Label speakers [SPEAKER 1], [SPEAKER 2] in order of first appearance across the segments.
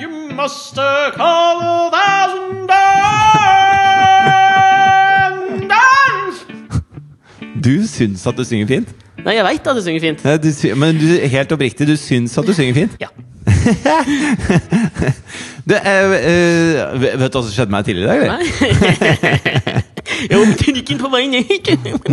[SPEAKER 1] just a couple thousand dollars.
[SPEAKER 2] Du syns at du synger fint?
[SPEAKER 1] Nei, jeg veit at jeg synger fint.
[SPEAKER 2] Nei, du, sy- men du, helt oppriktig, du syns at du synger fint?
[SPEAKER 1] Ja.
[SPEAKER 2] Det, eh, eh, vet du hva som skjedde meg tidligere i dag? eller?
[SPEAKER 1] Nei. Jeg åpnet ryggen på veien ned.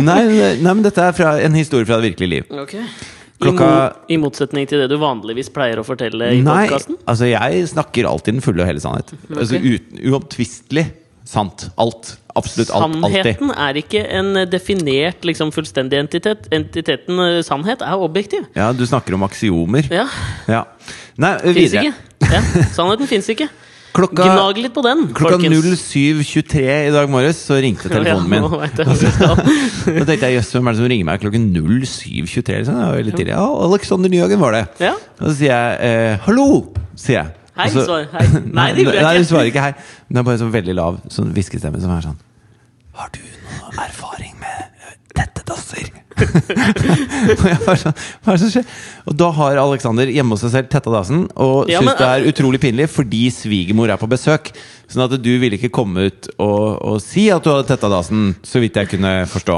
[SPEAKER 2] Nei, nei, nei, men dette er fra en historie fra det virkelige liv.
[SPEAKER 1] Ok. I, mo
[SPEAKER 2] Klokka-
[SPEAKER 1] I motsetning til det du vanligvis pleier å fortelle i Mm,
[SPEAKER 2] Nei,
[SPEAKER 1] podkasten?
[SPEAKER 2] altså jeg snakker alltid den fulle og hele sannhet. Altså uten, Uomtvistelig sant. Alt. Absolutt alt. Alltid.
[SPEAKER 1] Sannheten er ikke en definert, liksom, fullstendig entitet. Entiteten eh, sannhet er objektiv.
[SPEAKER 2] Ja, du snakker om aksiomer.
[SPEAKER 1] Ja.
[SPEAKER 2] Ja. Nei,
[SPEAKER 1] Fins
[SPEAKER 2] videre.
[SPEAKER 1] ikke. Ja, sannheten fins ikke.
[SPEAKER 2] Klokka,
[SPEAKER 1] Gnag litt på den,
[SPEAKER 2] klokka
[SPEAKER 1] folkens.
[SPEAKER 2] 07.23 i dag morges så ringte telefonen
[SPEAKER 1] Ja,
[SPEAKER 2] min.
[SPEAKER 1] nå vet jeg hvor det skal.
[SPEAKER 2] Da tenkte jeg jøss, hvem er det som ringer meg klokken 07.23? Liksom? Det var jo litt tidlig. Ja, Alexander Nyhagen var det.
[SPEAKER 1] Ja.
[SPEAKER 2] Og så sier jeg eh, 'hallo', sier jeg.
[SPEAKER 1] Hei,
[SPEAKER 2] Og så-
[SPEAKER 1] svar. Hei. Nei, det gjorde jeg
[SPEAKER 2] nei,
[SPEAKER 1] ikke.
[SPEAKER 2] du svarer ikke hei. Men det er bare sånn veldig lav sånn hviskestemme som er sånn Har du noe erfaring med eh, tettedasser? og jeg bare sånn, hva er det som skjer? Og da har Alexander hjemme hos seg selv tetta dassen og
[SPEAKER 1] Ja,
[SPEAKER 2] syns
[SPEAKER 1] men- eh,
[SPEAKER 2] det er utrolig pinlig fordi svigermor er på besøk. Sånn at du ville ikke komme ut og, og si at du hadde tetta dassen, så vidt jeg kunne forstå.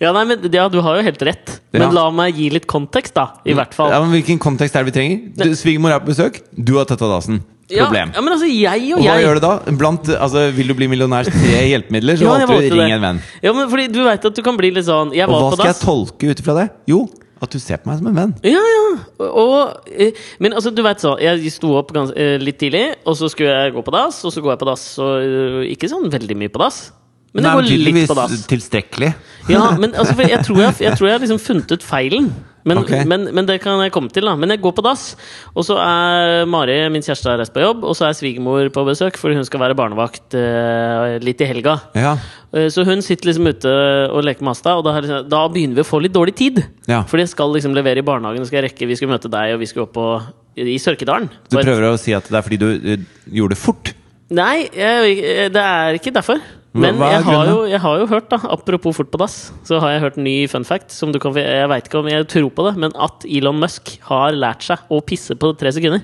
[SPEAKER 1] Ja, nei, men, ja, du har jo helt rett.
[SPEAKER 2] Ja. Mm.
[SPEAKER 1] Men la meg gi litt kontekst, da. I hvert fall.
[SPEAKER 2] Ja, men Hvilken kontekst er det vi trenger? Du, Svigermor er på besøk, du har tetta dassen.
[SPEAKER 1] Ja,
[SPEAKER 2] Problem.
[SPEAKER 1] Ja, men altså, jeg og
[SPEAKER 2] Og hva
[SPEAKER 1] jeg
[SPEAKER 2] gjør du da? Blant altså, Vil du bli millionærs tre hjelpemidler, så
[SPEAKER 1] Ja,
[SPEAKER 2] valgte
[SPEAKER 1] jeg
[SPEAKER 2] du
[SPEAKER 1] valgte
[SPEAKER 2] ring
[SPEAKER 1] det.
[SPEAKER 2] en venn.
[SPEAKER 1] Ja, men fordi du veit at du kan bli litt sånn Jeg
[SPEAKER 2] Og
[SPEAKER 1] var
[SPEAKER 2] hva
[SPEAKER 1] på
[SPEAKER 2] skal jeg
[SPEAKER 1] dass.
[SPEAKER 2] tolke ut fra det? Jo, at du ser på meg som en venn.
[SPEAKER 1] Ja, ja. Og, eh, men altså, du veit så. Jeg sto opp gans, eh, litt tidlig, og så skulle jeg gå på dass, og så går jeg på dass, og eh, ikke sånn veldig mye på dass. Men
[SPEAKER 2] Nei,
[SPEAKER 1] jeg går litt på dass.
[SPEAKER 2] tydeligvis tilstrekkelig.
[SPEAKER 1] Ja, men altså, for jeg tror jeg, jeg tror jeg har liksom funnet ut feilen. Men,
[SPEAKER 2] Ok.
[SPEAKER 1] men, men det kan jeg komme til, da. Men jeg går på dass, og så er Mari, min kjæreste, har reist på jobb, og så er svigermor på besøk, for hun skal være barnevakt eh, litt i helga.
[SPEAKER 2] Ja.
[SPEAKER 1] Eh, Så hun sitter liksom ute og leker med Asta, og da, har liksom- da begynner vi å få litt dårlig tid.
[SPEAKER 2] Ja.
[SPEAKER 1] For jeg skal liksom levere i barnehagen, og skal rekke, vi skal møte deg, og vi skal opp på, i Sørkedalen.
[SPEAKER 2] Du
[SPEAKER 1] For-
[SPEAKER 2] prøver å si at det er fordi du eh, gjorde det fort.
[SPEAKER 1] Nei, jeg, det er ikke derfor. Men
[SPEAKER 2] hva er
[SPEAKER 1] jeg har,
[SPEAKER 2] grunnen?
[SPEAKER 1] jo, jeg har jo hørt, da, apropos fort på dass, så har jeg hørt en ny fun fact. Som du kan, jeg vet ikke om jeg tror på det, men at Elon Musk har lært seg å pisse på tre sekunder.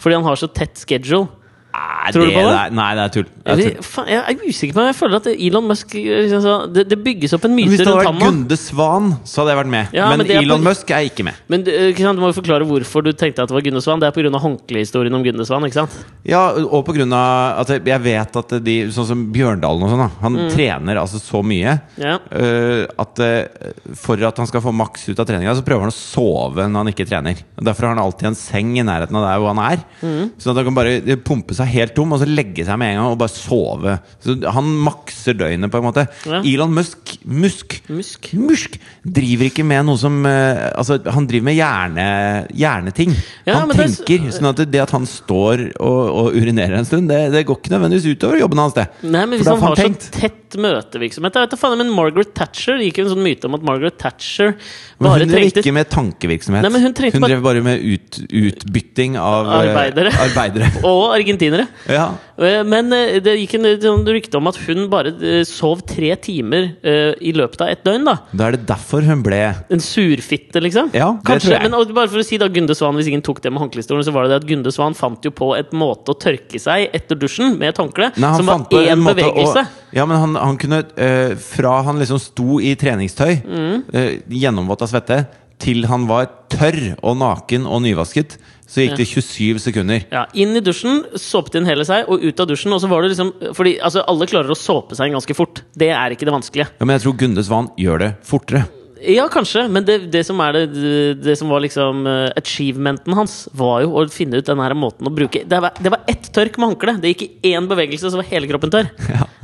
[SPEAKER 1] Fordi han har så tett schedule.
[SPEAKER 2] Nei,
[SPEAKER 1] Tror du på det?
[SPEAKER 2] er- Nei, det er tull. Det er
[SPEAKER 1] Eller,
[SPEAKER 2] tull.
[SPEAKER 1] faen, jeg er usikker på men Jeg føler at Elon Musk liksom, så, det, det bygges opp en myte
[SPEAKER 2] Hvis det hadde
[SPEAKER 1] rundt
[SPEAKER 2] vært
[SPEAKER 1] ham. nå.
[SPEAKER 2] Gunde Svan, så hadde jeg vært med.
[SPEAKER 1] Ja, men
[SPEAKER 2] men,
[SPEAKER 1] det er på-
[SPEAKER 2] Elon Musk er ikke med.
[SPEAKER 1] Men eh, ikke sant, du må jo forklare hvorfor du tenkte at det var Gunnesvann. Det er pga. håndklehistorien om Gunnesvann. ikke sant?
[SPEAKER 2] Ja, og på grunn av at jeg vet at de Sånn som Bjørndalen og sånn, da. Han trener altså så mye.
[SPEAKER 1] Ja.
[SPEAKER 2] Eh, at eh, For at han skal få maks ut av treninga, så prøver han å sove når han ikke trener. Og Derfor har han alltid en seng i nærheten av der hvor han er.
[SPEAKER 1] Mm.
[SPEAKER 2] Sånn at han kan bare eh, pumpe seg helt tom og så legge seg med en gang og bare sove. Så Han makser døgnet, på en måte.
[SPEAKER 1] Ja.
[SPEAKER 2] Elon Musk Musk
[SPEAKER 1] Musk.
[SPEAKER 2] Musk driver ikke med noe som eh, Altså, han driver med hjerne, hjerneting.
[SPEAKER 1] Ja,
[SPEAKER 2] han
[SPEAKER 1] men det er s-
[SPEAKER 2] tenker. Sånn at det at han står og, og urinerer en stund, det, det går ikke nødvendigvis utover jobben hans, det.
[SPEAKER 1] Nei, men
[SPEAKER 2] For
[SPEAKER 1] hvis
[SPEAKER 2] da
[SPEAKER 1] han
[SPEAKER 2] får
[SPEAKER 1] har
[SPEAKER 2] tenkt.
[SPEAKER 1] så tett møtevirksomhet Jeg vet da faen, men Margaret Thatcher det gikk jo en sånn myte om at Margaret Thatcher
[SPEAKER 2] Men
[SPEAKER 1] bare
[SPEAKER 2] hun drev
[SPEAKER 1] trengte
[SPEAKER 2] ikke med tankevirksomhet.
[SPEAKER 1] Nei, men hun trengte bare-
[SPEAKER 2] drev bare med ut, utbytting av eh,
[SPEAKER 1] Arbeidere.
[SPEAKER 2] arbeidere.
[SPEAKER 1] Og argentinere.
[SPEAKER 2] Ja.
[SPEAKER 1] Eh, Men eh, det gikk en eh, sånn rykte om at hun bare eh, sov tre timer eh, i løpet av ett døgn. da
[SPEAKER 2] Da er det derfor hun ble
[SPEAKER 1] En surfitte, liksom.
[SPEAKER 2] Ja, det
[SPEAKER 1] Kanskje,
[SPEAKER 2] tror jeg.
[SPEAKER 1] Men og bare for å si da Gunde Svan, Hvis ingen tok det med håndklestolen, så var det det at Gunde Svan fant jo på et måte å tørke seg etter dusjen med et håndkle,
[SPEAKER 2] Nei, han
[SPEAKER 1] som
[SPEAKER 2] fant på
[SPEAKER 1] var
[SPEAKER 2] en
[SPEAKER 1] én
[SPEAKER 2] måte å-
[SPEAKER 1] bevegelse.
[SPEAKER 2] Ja, men han, han kunne eh, Fra han liksom sto i treningstøy,
[SPEAKER 1] Mm.
[SPEAKER 2] eh, gjennomvåt av svette, til han var tørr og naken og nyvasket, så gikk det 27 sekunder.
[SPEAKER 1] Ja, Inn i dusjen, såpet inn hele seg, og ut av dusjen. Og så var det liksom, fordi altså, Alle klarer å såpe seg inn ganske fort. Det er ikke det vanskelige.
[SPEAKER 2] Ja, men jeg tror Gunde Svan gjør det fortere.
[SPEAKER 1] Ja, kanskje, men det, det som er det, det som var liksom eh, achievementen hans, var jo å finne ut den her måten å bruke Det var, det var ett tørk med håndkle. Det gikk i én bevegelse, så var hele kroppen tørr.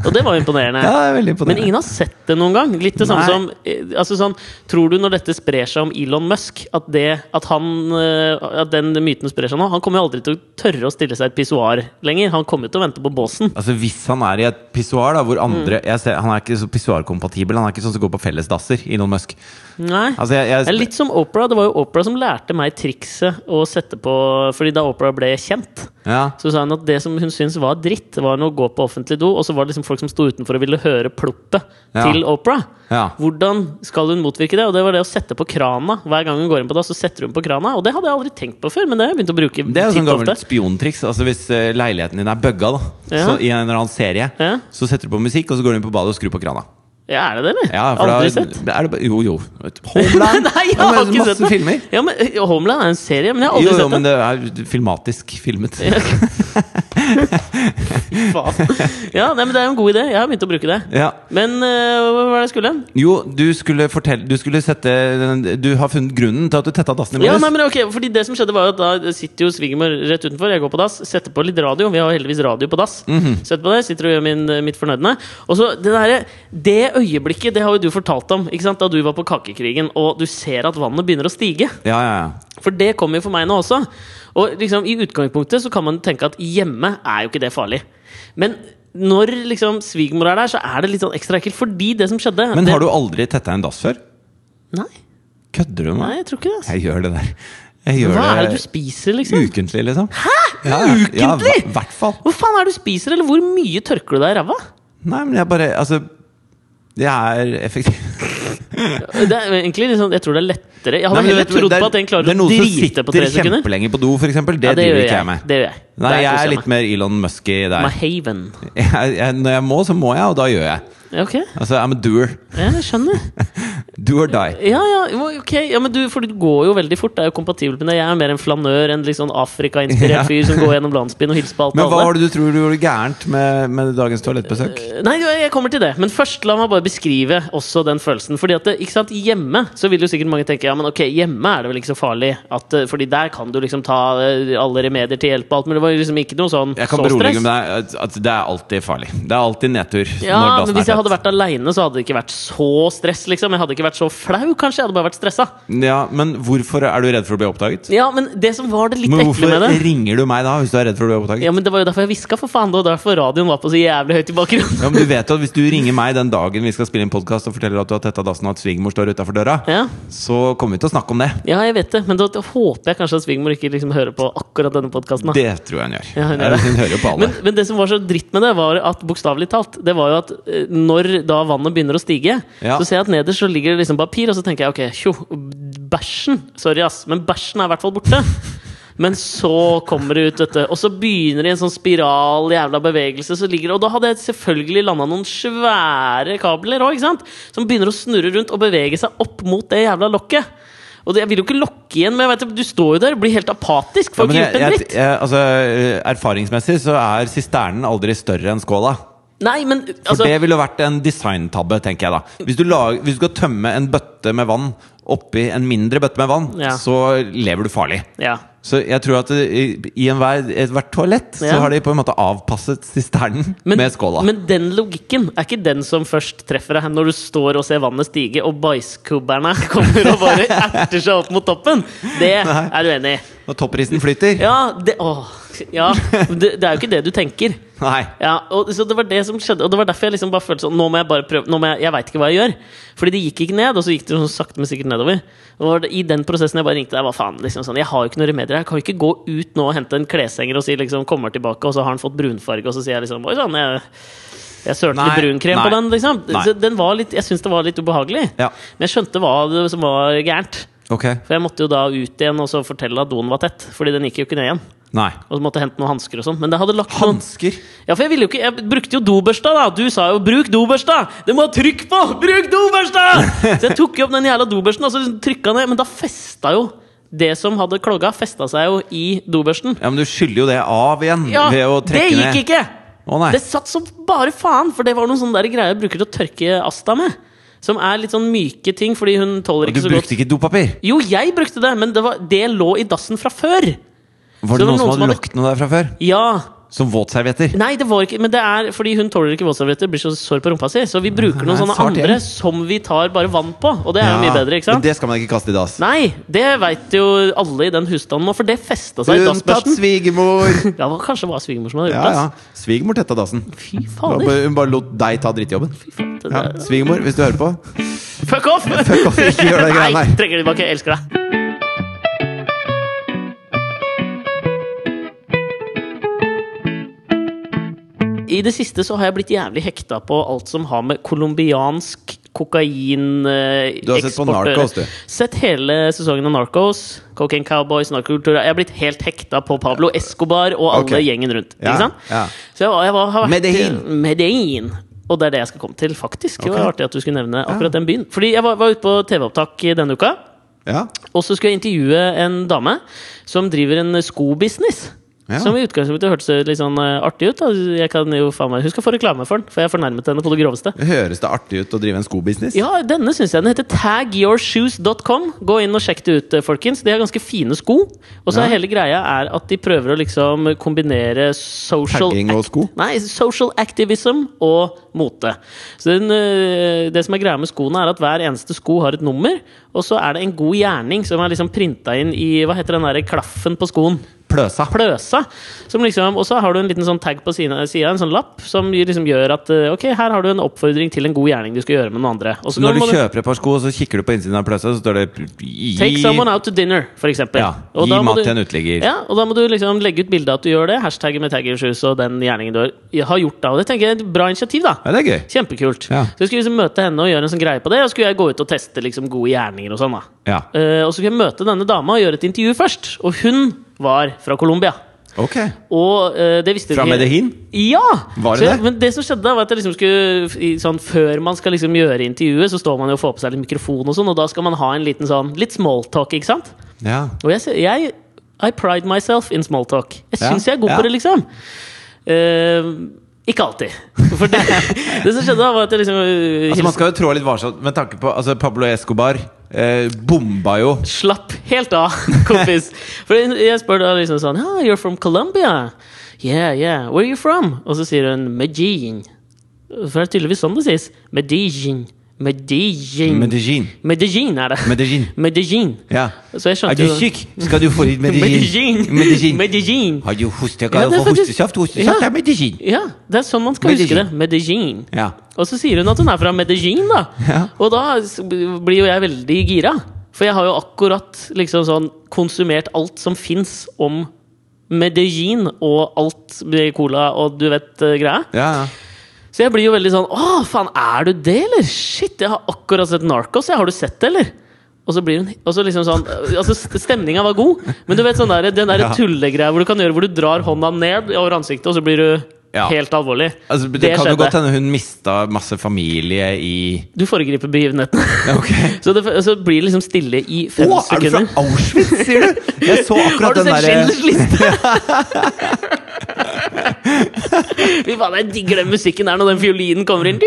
[SPEAKER 1] Og det var imponerende.
[SPEAKER 2] Ja, det er veldig imponerende.
[SPEAKER 1] Men ingen har sett det noen gang. Litt det samme
[SPEAKER 2] Nei.
[SPEAKER 1] som eh, altså sånn, Tror du når dette sprer seg om Elon Musk, at, det, at, han, eh, at den myten sprer seg nå Han kommer jo aldri til å tørre å stille seg i et pissoar lenger. Han kommer jo til å vente på båsen.
[SPEAKER 2] Altså Hvis han
[SPEAKER 1] Mm.
[SPEAKER 2] er i et pissoar, da, hvor andre jeg ser, Han er ikke så pissoarkompatibel. Han er ikke sånn som går på fellesdasser, Elon Musk.
[SPEAKER 1] Nei.
[SPEAKER 2] Altså, jeg,
[SPEAKER 1] Det er
[SPEAKER 2] jeg,
[SPEAKER 1] litt som Opera. Det var jo Opera som lærte meg trikset å sette på Fordi da Opera ble kjent,
[SPEAKER 2] ja.
[SPEAKER 1] så sa hun at det som hun syntes var dritt, var å gå på offentlig do, og så var det liksom folk som sto utenfor og ville høre ploppet
[SPEAKER 2] Ja.
[SPEAKER 1] til Opera.
[SPEAKER 2] Ja.
[SPEAKER 1] Hvordan skal hun motvirke det? Og det var det å sette på krana. Hver gang hun går inn på da, så setter hun på krana. Og det hadde jeg aldri tenkt på før, men det har jeg begynt å bruke.
[SPEAKER 2] Det er jo sånn
[SPEAKER 1] titt og
[SPEAKER 2] gammelt
[SPEAKER 1] ofte.
[SPEAKER 2] spiontriks. Altså Hvis eh, leiligheten din er bugga, da,
[SPEAKER 1] Ja.
[SPEAKER 2] så i en eller annen serie,
[SPEAKER 1] Ja.
[SPEAKER 2] så setter du på musikk, og så går du inn på badet og skrur på krana.
[SPEAKER 1] Ja, er det det, eller?
[SPEAKER 2] Ja, for
[SPEAKER 1] aldri
[SPEAKER 2] da,
[SPEAKER 1] sett.
[SPEAKER 2] Er det, ba- jo, jo. Homeland!
[SPEAKER 1] Nei, jeg
[SPEAKER 2] Ja, men
[SPEAKER 1] har ikke
[SPEAKER 2] masse
[SPEAKER 1] sett det.
[SPEAKER 2] filmer.
[SPEAKER 1] Ja, men eh, Homeland er en serie, men jeg har aldri
[SPEAKER 2] Jo, jo,
[SPEAKER 1] sett
[SPEAKER 2] men det er filmatisk filmet.
[SPEAKER 1] det. Faen. Ja, nei, men Det er jo en god idé. Jeg har begynt å bruke det.
[SPEAKER 2] Ja.
[SPEAKER 1] Men eh, hva var det jeg skulle?
[SPEAKER 2] Jo, du skulle fortelle Du skulle sette Du har funnet grunnen til at du tetta dassen i
[SPEAKER 1] Ja,
[SPEAKER 2] morges.
[SPEAKER 1] nei, men ok, fordi det som skjedde var jo at Da sitter jo svigermor rett utenfor. Jeg går på dass, setter på litt radio. Vi har jo heldigvis radio på dass.
[SPEAKER 2] Mhm.
[SPEAKER 1] Setter på det, Sitter og gjør min, eh, mitt fornødne. Og så Det derre- det øyeblikket det har jo du fortalt om ikke sant? da du var på Kakekrigen, og du ser at vannet begynner å stige.
[SPEAKER 2] ja, ja, ja.
[SPEAKER 1] For det kommer jo for meg nå også. Og liksom, i utgangspunktet så kan man tenke at hjemme er jo ikke det farlig. Men når liksom svigermor er der, så er det litt sånn ekstra ekkelt. Fordi det som skjedde
[SPEAKER 2] Men
[SPEAKER 1] det,
[SPEAKER 2] har du aldri tetta en dass før?
[SPEAKER 1] Nei,
[SPEAKER 2] Kødder du med
[SPEAKER 1] nei,
[SPEAKER 2] meg?
[SPEAKER 1] jeg tror ikke det. Altså.
[SPEAKER 2] Jeg gjør det der. Jeg gjør
[SPEAKER 1] Hva er
[SPEAKER 2] det
[SPEAKER 1] det du spiser, liksom?
[SPEAKER 2] ukentlig, liksom. Hæ? Ja, ja. Ja,
[SPEAKER 1] Ukentlig?
[SPEAKER 2] hva- hvert fall.
[SPEAKER 1] Hva faen er det du spiser, eller hvor mye tørker du deg i ræva?
[SPEAKER 2] Nei, men jeg bare Altså, jeg er effektiv.
[SPEAKER 1] Det er egentlig liksom, Jeg tror det er lettere. Jeg hadde
[SPEAKER 2] Nei, men du
[SPEAKER 1] heller
[SPEAKER 2] vet,
[SPEAKER 1] trodd
[SPEAKER 2] det er-
[SPEAKER 1] på at en
[SPEAKER 2] det er
[SPEAKER 1] klarer å
[SPEAKER 2] noen som
[SPEAKER 1] drite på tre
[SPEAKER 2] sitter
[SPEAKER 1] sekunder.
[SPEAKER 2] kjempelenge på do, for eksempel. Det,
[SPEAKER 1] Ja, det
[SPEAKER 2] driver
[SPEAKER 1] gjør
[SPEAKER 2] ikke jeg
[SPEAKER 1] jeg.
[SPEAKER 2] med.
[SPEAKER 1] Det gjør jeg.
[SPEAKER 2] Nei,
[SPEAKER 1] Der
[SPEAKER 2] jeg
[SPEAKER 1] koser
[SPEAKER 2] er
[SPEAKER 1] jeg
[SPEAKER 2] litt mer Elon Musk i
[SPEAKER 1] meg.
[SPEAKER 2] der.
[SPEAKER 1] Mahaven.
[SPEAKER 2] Jeg, jeg, når jeg må, så må jeg, og da gjør jeg.
[SPEAKER 1] Ja, Ok,
[SPEAKER 2] Altså, I'm a doer.
[SPEAKER 1] ja, jeg skjønner.
[SPEAKER 2] Do or die.
[SPEAKER 1] Ja, ja, jo, ok ja, men du, for du går jo veldig fort. Det er jo kompatibelt med det. Jeg er mer en flanør, en litt sånn Afrika-inspirert
[SPEAKER 2] Ja.
[SPEAKER 1] fyr som går gjennom landsbyen og hilser på alt
[SPEAKER 2] Men
[SPEAKER 1] og
[SPEAKER 2] hva
[SPEAKER 1] alle.
[SPEAKER 2] var det du tror du gjorde gærent med, med dagens toalettbesøk?
[SPEAKER 1] Nei, jo, jeg kommer til det. Men først la meg bare beskrive også den følelsen. Fordi at, det- ikke sant, Hjemme så vil jo sikkert mange tenke Ja, men ok, hjemme er det vel ikke så farlig. At, eh, fordi der kan du liksom ta eh, alle remedier til hjelp og alt. Men det var jo liksom ikke noe sånn
[SPEAKER 2] Jeg kan
[SPEAKER 1] så stress.
[SPEAKER 2] berolige med deg at- at det er alltid farlig. Det er alltid nedtur. når
[SPEAKER 1] Ja,
[SPEAKER 2] dassen
[SPEAKER 1] men
[SPEAKER 2] er
[SPEAKER 1] Hvis
[SPEAKER 2] tett.
[SPEAKER 1] jeg hadde vært aleine, så hadde det ikke vært så stress. liksom Jeg hadde ikke vært så flau, kanskje. Jeg hadde bare vært stressa.
[SPEAKER 2] Ja, men hvorfor er du redd for å bli oppdaget?
[SPEAKER 1] Ja, men det som var det litt
[SPEAKER 2] Men
[SPEAKER 1] ekle
[SPEAKER 2] hvorfor
[SPEAKER 1] med det
[SPEAKER 2] ringer du meg da hvis du er redd for å bli oppdaget?
[SPEAKER 1] Ja, men Det var jo derfor jeg hviska, for faen. Det var derfor radioen var på så jævlig høyt i bakgrunnen.
[SPEAKER 2] Ja, men du vet jo at Hvis du ringer meg den dagen vi skal spille inn podkast og forteller at du har tetta dassen og at svigermor står utafor døra,
[SPEAKER 1] Ja.
[SPEAKER 2] så kommer vi til å snakke om det.
[SPEAKER 1] ja, jeg vet det, men da håper jeg kanskje at svigermor ikke liksom hører på akkurat denne podkasten.
[SPEAKER 2] Det tror jeg hun gjør.
[SPEAKER 1] Ja, hun gjør
[SPEAKER 2] Jeg-
[SPEAKER 1] det.
[SPEAKER 2] hun hører jo på alle.
[SPEAKER 1] Men, men det som var så dritt med det, var at bokstavelig talt Det var jo at eh, når da vannet begynner å stige,
[SPEAKER 2] Ja.
[SPEAKER 1] så ser jeg at nederst så ligger det liksom papir, og så tenker jeg ok, tjo, bæsjen Sorry, ass, men bæsjen er i hvert fall borte. Men så kommer det ut, vet du. Og så begynner det i en sånn spiral, jævla bevegelse. Så ligger det, og da hadde jeg selvfølgelig landa noen svære kabler òg, ikke sant? Som begynner å snurre rundt og bevege seg opp mot det jævla lokket. Og det, jeg vil jo ikke lokke igjen, men jeg vet, du står jo der og blir helt apatisk. Får
[SPEAKER 2] Ja, men
[SPEAKER 1] ikke gjort en
[SPEAKER 2] jeg, jeg,
[SPEAKER 1] dritt.
[SPEAKER 2] jeg, altså, erfaringsmessig så er sisternen aldri større enn skåla.
[SPEAKER 1] Nei, men
[SPEAKER 2] For
[SPEAKER 1] altså
[SPEAKER 2] det ville vært en designtabbe, tenker jeg da. Hvis du, lag, hvis du skal tømme en bøtte med vann oppi en mindre bøtte med vann,
[SPEAKER 1] Ja.
[SPEAKER 2] så lever du farlig.
[SPEAKER 1] Ja.
[SPEAKER 2] Så jeg tror at i, i enhver, ethvert toalett så
[SPEAKER 1] Ja.
[SPEAKER 2] har de på en måte avpasset sisternen med skåla.
[SPEAKER 1] men den logikken er ikke den som først treffer deg når du står og ser vannet stige, og bæsjkubberne kommer og bare erter seg opp mot toppen. Det er du enig i.
[SPEAKER 2] Når topprisen flyter.
[SPEAKER 1] Ja, det, åh, ja det, det er jo ikke det du tenker.
[SPEAKER 2] Nei.
[SPEAKER 1] Ja, og, så det var det som skjedde, og det var derfor jeg liksom bare følte sånn Nå må jeg bare prøve nå må jeg, jeg veit ikke hva jeg gjør. Fordi det gikk ikke ned, og så gikk det sånn sakte, men sikkert nedover. Og var det, I den prosessen jeg bare ringte deg, hva faen? liksom sånn Jeg har jo ikke noe remedier. Jeg kan jo ikke gå ut nå og hente en kleshenger og si liksom Kommer tilbake, og så har han fått brunfarge, og så sier jeg liksom Oi sann, jeg, jeg sølte litt
[SPEAKER 2] Nei,
[SPEAKER 1] brunkrem
[SPEAKER 2] nei,
[SPEAKER 1] på den, liksom.
[SPEAKER 2] nei.
[SPEAKER 1] Så den var litt, jeg syns det var litt ubehagelig.
[SPEAKER 2] Ja.
[SPEAKER 1] Men jeg skjønte hva det, som var gærent.
[SPEAKER 2] Ok.
[SPEAKER 1] For jeg måtte jo da ut igjen og så fortelle at doen var tett. Fordi den gikk jo ikke ned igjen.
[SPEAKER 2] Nei.
[SPEAKER 1] Og så måtte jeg hente noen hansker og sånn. Men det hadde lagt noen
[SPEAKER 2] Hansker.
[SPEAKER 1] ja, for jeg ville jo ikke Jeg brukte jo dobørsta, da! Du sa jo 'bruk dobørsta'! Det må ha trykk på! Bruk dobørsta! Så jeg tok jo opp den jævla dobørsten og så liksom trykka ned, men da festa jo det som hadde klogga, festa seg jo i dobørsten.
[SPEAKER 2] Ja, men du skyller jo det av igjen
[SPEAKER 1] Ja,
[SPEAKER 2] ved å
[SPEAKER 1] det
[SPEAKER 2] trekke
[SPEAKER 1] gikk
[SPEAKER 2] ned.
[SPEAKER 1] ikke!
[SPEAKER 2] Å nei.
[SPEAKER 1] Det satt som bare faen, for det var noen sånne der greier jeg bruker til å tørke Asta med. Som er litt sånn myke ting, fordi hun tåler
[SPEAKER 2] Og du
[SPEAKER 1] ikke så godt
[SPEAKER 2] brukte ikke dopapir?
[SPEAKER 1] Jo, jeg brukte det, men det, var, det lå i dassen fra før!
[SPEAKER 2] Var det
[SPEAKER 1] det var
[SPEAKER 2] noen som hadde
[SPEAKER 1] hadde-
[SPEAKER 2] lagt noe der fra før?
[SPEAKER 1] Ja,
[SPEAKER 2] Som våtservietter?
[SPEAKER 1] Nei, det var ikke Men det er fordi hun tåler ikke våtservietter. Blir så sår på rumpa si. Så vi bruker noen
[SPEAKER 2] Nei,
[SPEAKER 1] sånne
[SPEAKER 2] svart
[SPEAKER 1] andre
[SPEAKER 2] gjeng.
[SPEAKER 1] som vi tar bare vann på. Og det er
[SPEAKER 2] Ja,
[SPEAKER 1] jo mye bedre, ikke sant?
[SPEAKER 2] Men det skal man ikke kaste i dass.
[SPEAKER 1] Nei, det veit jo alle i den husstanden nå, for det festa seg i
[SPEAKER 2] Unntatt
[SPEAKER 1] dassbørsten.
[SPEAKER 2] svigermor!
[SPEAKER 1] Ja, det var kanskje det var svigermor som hadde
[SPEAKER 2] Ja,
[SPEAKER 1] gjort det.
[SPEAKER 2] ja.
[SPEAKER 1] ass.
[SPEAKER 2] Svigermor tetta dassen.
[SPEAKER 1] Fy
[SPEAKER 2] Hun
[SPEAKER 1] fader.
[SPEAKER 2] bare- hun bare lot deg ta drittjobben.
[SPEAKER 1] Fy fader.
[SPEAKER 2] Ja. Svigermor, hvis du hører på.
[SPEAKER 1] Fuck off!
[SPEAKER 2] Fuck off, ikke gjør det greiene
[SPEAKER 1] Nei,
[SPEAKER 2] her.
[SPEAKER 1] trenger det tilbake. Jeg elsker deg. I det siste så har jeg blitt jævlig hekta på alt som har med colombiansk kokain eh,
[SPEAKER 2] Du har sett på
[SPEAKER 1] eksport å gjøre.
[SPEAKER 2] Narcos, du.
[SPEAKER 1] Sett hele sesongen av Narcos. Cocaine Cowboys, narkokultur Jeg har blitt helt hekta på Pablo Escobar og alle
[SPEAKER 2] Ok.
[SPEAKER 1] gjengen rundt.
[SPEAKER 2] Ja,
[SPEAKER 1] Ikke sant?
[SPEAKER 2] ja.
[SPEAKER 1] Så jeg, var- jeg var, har vært
[SPEAKER 2] Medellin.
[SPEAKER 1] Medellin. Og det er det jeg skal komme til, faktisk. Det var
[SPEAKER 2] Ok.
[SPEAKER 1] artig at du skulle nevne akkurat den byen. Fordi jeg var, var ute på TV-opptak denne uka,
[SPEAKER 2] Ja.
[SPEAKER 1] og så skulle jeg intervjue en dame som driver en skobusiness.
[SPEAKER 2] Ja.
[SPEAKER 1] Som i utgangspunktet hørtes litt sånn eh, artig ut. Da. Jeg kan jo faen meg, Hun skal få reklame for den, for jeg fornærmet henne på det groveste.
[SPEAKER 2] Høres det artig ut å drive en skobusiness?
[SPEAKER 1] Ja, denne syns jeg. Den heter tagyourshoes.com. Gå inn og sjekk det ut, eh, folkens. De har ganske fine sko. Og så
[SPEAKER 2] Ja.
[SPEAKER 1] er hele greia er at de prøver å liksom kombinere social
[SPEAKER 2] Tagging og sko?
[SPEAKER 1] Nei, social activism og mote. Så den, øh, det som er greia med skoene, er at hver eneste sko har et nummer, og så er det en god gjerning som er liksom printa inn i hva heter den der klaffen på skoen?
[SPEAKER 2] Pløsa.
[SPEAKER 1] Pløsa. Som liksom, og så har du en liten sånn tag på sida, sida, en sånn lapp, som liksom gjør at øh, ok, her har du en oppfordring til en god gjerning du skal gjøre med noen andre. Og så
[SPEAKER 2] Når
[SPEAKER 1] må
[SPEAKER 2] du
[SPEAKER 1] du-
[SPEAKER 2] kjøper et par sko, så kikker du på innsiden av pløsa, så står det gi-
[SPEAKER 1] Take someone out to dinner, for eksempel.
[SPEAKER 2] Ja,
[SPEAKER 1] Og
[SPEAKER 2] gi
[SPEAKER 1] da må
[SPEAKER 2] mat
[SPEAKER 1] du-
[SPEAKER 2] til en uteligger.
[SPEAKER 1] Ja, og da må du liksom legge ut bilde av at du gjør det. Hashtagget med taggershoes og den gjerningen du har- har gjort. Da. Og det tenker jeg er et bra initiativ, da.
[SPEAKER 2] Ja, det er gøy.
[SPEAKER 1] Kjempekult.
[SPEAKER 2] Ja.
[SPEAKER 1] Så jeg skulle liksom møte henne og gjøre en sånn greie på det. Og så skulle jeg gå ut og teste liksom gode gjerninger og sånn. da
[SPEAKER 2] Ja.
[SPEAKER 1] Eh, Og så skulle jeg møte denne dama og gjøre et intervju først. Og hun var fra Colombia.
[SPEAKER 2] Ok.
[SPEAKER 1] Og eh, det visste
[SPEAKER 2] Fra
[SPEAKER 1] vi ikke-
[SPEAKER 2] Medellin?
[SPEAKER 1] ja!
[SPEAKER 2] Var det
[SPEAKER 1] så, jeg-
[SPEAKER 2] det?
[SPEAKER 1] Men det som skjedde da var at jeg liksom skulle i- sånn, Før man skal liksom gjøre intervjuet, så står man jo og får på seg litt mikrofon, og sånn Og da skal man ha en liten sånn litt smalltalk, ikke sant?
[SPEAKER 2] Ja.
[SPEAKER 1] Og jeg, ser- jeg I pride myself in smalltalk. Jeg
[SPEAKER 2] Ja,
[SPEAKER 1] syns jeg er god
[SPEAKER 2] ja.
[SPEAKER 1] på det, liksom. Eh, ikke alltid. For det, det som skjedde, da var at jeg liksom eh,
[SPEAKER 2] Altså,
[SPEAKER 1] hilste-
[SPEAKER 2] man skal jo trå litt varsomt med tanke på altså, Pablo Escobar eh, bomba jo
[SPEAKER 1] Slapp helt av, kompis. For jeg spør da liksom sånn ah, You're from Colombia? Yeah, yeah. Where are you from? Og så sier hun Medellin. For det er tydeligvis sånn det sies. Medellin. Medellin.
[SPEAKER 2] Medellin.
[SPEAKER 1] Medellin er det.
[SPEAKER 2] Medellin.
[SPEAKER 1] Medellin.
[SPEAKER 2] Ja.
[SPEAKER 1] Så jeg
[SPEAKER 2] Er
[SPEAKER 1] skjønte
[SPEAKER 2] du syk? Skal du få litt
[SPEAKER 1] Medellin.
[SPEAKER 2] medisin? Medisin.
[SPEAKER 1] Medellin.
[SPEAKER 2] Har du hoste?
[SPEAKER 1] Ja,
[SPEAKER 2] Kan du
[SPEAKER 1] det er
[SPEAKER 2] få
[SPEAKER 1] faktisk-
[SPEAKER 2] hostesaft? Hostesaft
[SPEAKER 1] Ja.
[SPEAKER 2] er medisin.
[SPEAKER 1] Ja, det er sånn man skal huske det.
[SPEAKER 2] Medellin.
[SPEAKER 1] Medellin.
[SPEAKER 2] Ja.
[SPEAKER 1] Og så sier hun at hun er fra Medellin, da.
[SPEAKER 2] Ja.
[SPEAKER 1] Og da s- blir jo jeg veldig gira. For jeg har jo akkurat liksom sånn konsumert alt som fins om Medellin og alt med cola og du vet eh, greia.
[SPEAKER 2] Ja, ja.
[SPEAKER 1] Så jeg blir jo veldig sånn Å, faen, er du det, eller? Shit, jeg har akkurat sett Narcos. Jeg har du sett det, eller? Og så blir hun og så liksom sånn Altså, st- stemninga var god, men du vet sånn der, den der
[SPEAKER 2] Ja.
[SPEAKER 1] tullegreia hvor du kan gjøre hvor du drar hånda ned over ansiktet, og så blir du
[SPEAKER 2] Ja.
[SPEAKER 1] helt alvorlig.
[SPEAKER 2] Altså, det, kan jo godt hende hun mista masse familie i
[SPEAKER 1] Du foregriper begivenheten.
[SPEAKER 2] Ok.
[SPEAKER 1] Så, det, så blir det liksom stille i
[SPEAKER 2] Å,
[SPEAKER 1] fem
[SPEAKER 2] er du fra
[SPEAKER 1] sekunder.
[SPEAKER 2] Auschwitz, sier du? Jeg så
[SPEAKER 1] Har
[SPEAKER 2] akkurat
[SPEAKER 1] du
[SPEAKER 2] den eh?
[SPEAKER 1] sett
[SPEAKER 2] derre
[SPEAKER 1] Schindlers liste? Fy faen, jeg digger den musikken der når den fiolinen kommer inn.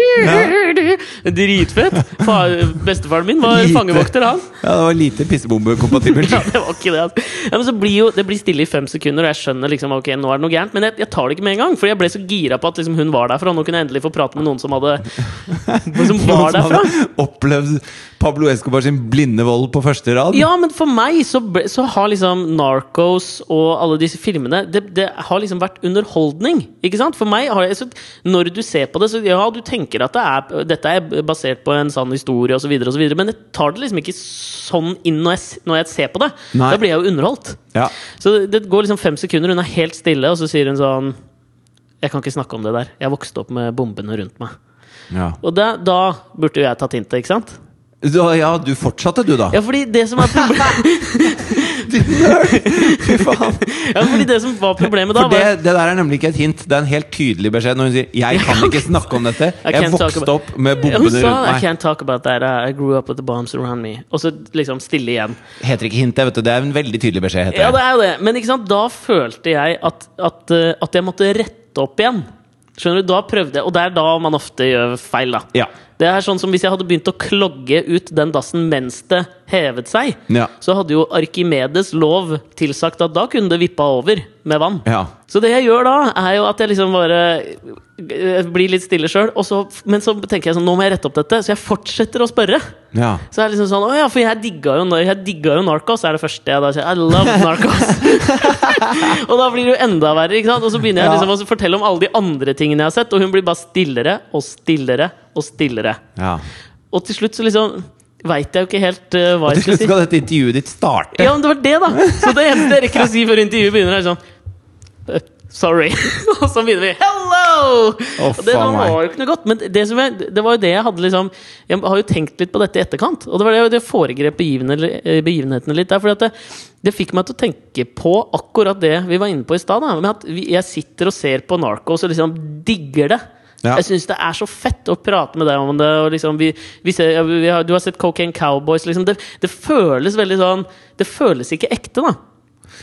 [SPEAKER 1] Dritfett. Fa- Bestefaren min var
[SPEAKER 2] Lite.
[SPEAKER 1] fangevokter, han.
[SPEAKER 2] Ja, det var lite pissebombekompatibelt.
[SPEAKER 1] Ja, det var ikke det, altså. Ja, men så blir jo, det blir stille i fem sekunder, og jeg skjønner liksom, ok, nå er det noe gærent. Men jeg, jeg tar det ikke med en gang, for jeg ble så gira på at liksom, hun var derfra. Nå kunne jeg endelig få prate med noen som hadde Som var
[SPEAKER 2] Noen som
[SPEAKER 1] derfra.
[SPEAKER 2] hadde opplevd Pablo Escobar sin blinde vold på første rad?
[SPEAKER 1] Ja, men for meg så, ble, så har liksom Narcos og alle disse filmene det, det har liksom vært underholdning. Ikke sant? For meg har jeg, så Når du ser på det, så ja, du tenker at det er, dette er basert på en sann historie osv., men jeg tar det liksom ikke sånn inn når jeg, s- når jeg ser på det.
[SPEAKER 2] Nei.
[SPEAKER 1] Da blir jeg jo underholdt.
[SPEAKER 2] Ja.
[SPEAKER 1] Så det, det går liksom fem sekunder, hun er helt stille, og så sier hun sånn Jeg kan ikke snakke om det der. Jeg vokste opp med bombene rundt meg.
[SPEAKER 2] Ja.
[SPEAKER 1] Og da, da burde jo jeg tatt hintet, ikke sant?
[SPEAKER 2] Du, ja, du fortsatte, du, da.
[SPEAKER 1] Ja, fordi det som er problemet
[SPEAKER 2] Du nerd! Fy faen.
[SPEAKER 1] Ja, fordi det som var problemet da
[SPEAKER 2] For
[SPEAKER 1] var
[SPEAKER 2] det, det der er nemlig ikke et hint. Det er en helt tydelig beskjed når hun sier 'jeg kan ikke snakke om dette'.
[SPEAKER 1] I
[SPEAKER 2] Jeg
[SPEAKER 1] can't talk
[SPEAKER 2] vokste
[SPEAKER 1] about-
[SPEAKER 2] opp med
[SPEAKER 1] Ja, Hun
[SPEAKER 2] bombene
[SPEAKER 1] sa I
[SPEAKER 2] rundt meg.
[SPEAKER 1] can't talk about that I I grew up with the bombs around me Og så liksom stille igjen
[SPEAKER 2] Heter ikke hint, det, vet du. Det er en veldig tydelig beskjed.
[SPEAKER 1] Ja,
[SPEAKER 2] Heter
[SPEAKER 1] det
[SPEAKER 2] det.
[SPEAKER 1] er jo det Men ikke sant, da følte jeg at, at, eh, at jeg måtte rette opp igjen Skjønner du, da prøvde jeg Og det er da man ofte gjør feil da
[SPEAKER 2] Ja.
[SPEAKER 1] Det er sånn som hvis jeg hadde begynt å klogge ut den dassen mens det hevet seg
[SPEAKER 2] Ja.
[SPEAKER 1] Så hadde jo Arkimedes lov tilsagt at da kunne det vippa over med vann
[SPEAKER 2] Ja.
[SPEAKER 1] så det jeg gjør da, er jo at jeg liksom bare eh, blir litt stille sjøl. Men så tenker jeg sånn, nå må jeg rette opp dette, så jeg fortsetter å spørre.
[SPEAKER 2] Ja.
[SPEAKER 1] Så jeg er liksom sånn, å ja, For jeg digga jo, jeg digga jo Narcos, er det første jeg da sier. I love Narcos. og da blir det jo enda verre. ikke sant? Og så begynner jeg
[SPEAKER 2] Ja.
[SPEAKER 1] liksom å fortelle om alle de andre tingene jeg har sett, og hun blir bare stillere og stillere og stillere.
[SPEAKER 2] ja.
[SPEAKER 1] Og til slutt så liksom veit jeg jo ikke helt eh, hva jeg skulle si.
[SPEAKER 2] Skal dette intervjuet ditt starte?
[SPEAKER 1] Ja, men det var det, da! Så det eneste jeg rekker å si før intervjuet begynner, er sånn eh, Sorry. Og så begynner vi. Hello!
[SPEAKER 2] Å,
[SPEAKER 1] og det
[SPEAKER 2] faen meg.
[SPEAKER 1] var jo ikke noe godt. Men det, som jeg, det var jo det jeg hadde liksom Jeg har jo tenkt litt på dette i etterkant. Og det var det, det foregrep begivenhe- eh, begivenhetene litt der. For det, det fikk meg til å tenke på akkurat det vi var inne på i stad. da, med At vi, jeg sitter og ser på Narcos og liksom digger det.
[SPEAKER 2] Ja.
[SPEAKER 1] Jeg syns det er så fett å prate med deg om det. Og liksom vi, vi ser, ja, vi har, du har sett Cocaine Cowboys. Liksom. Det, det føles veldig sånn Det føles ikke ekte, da.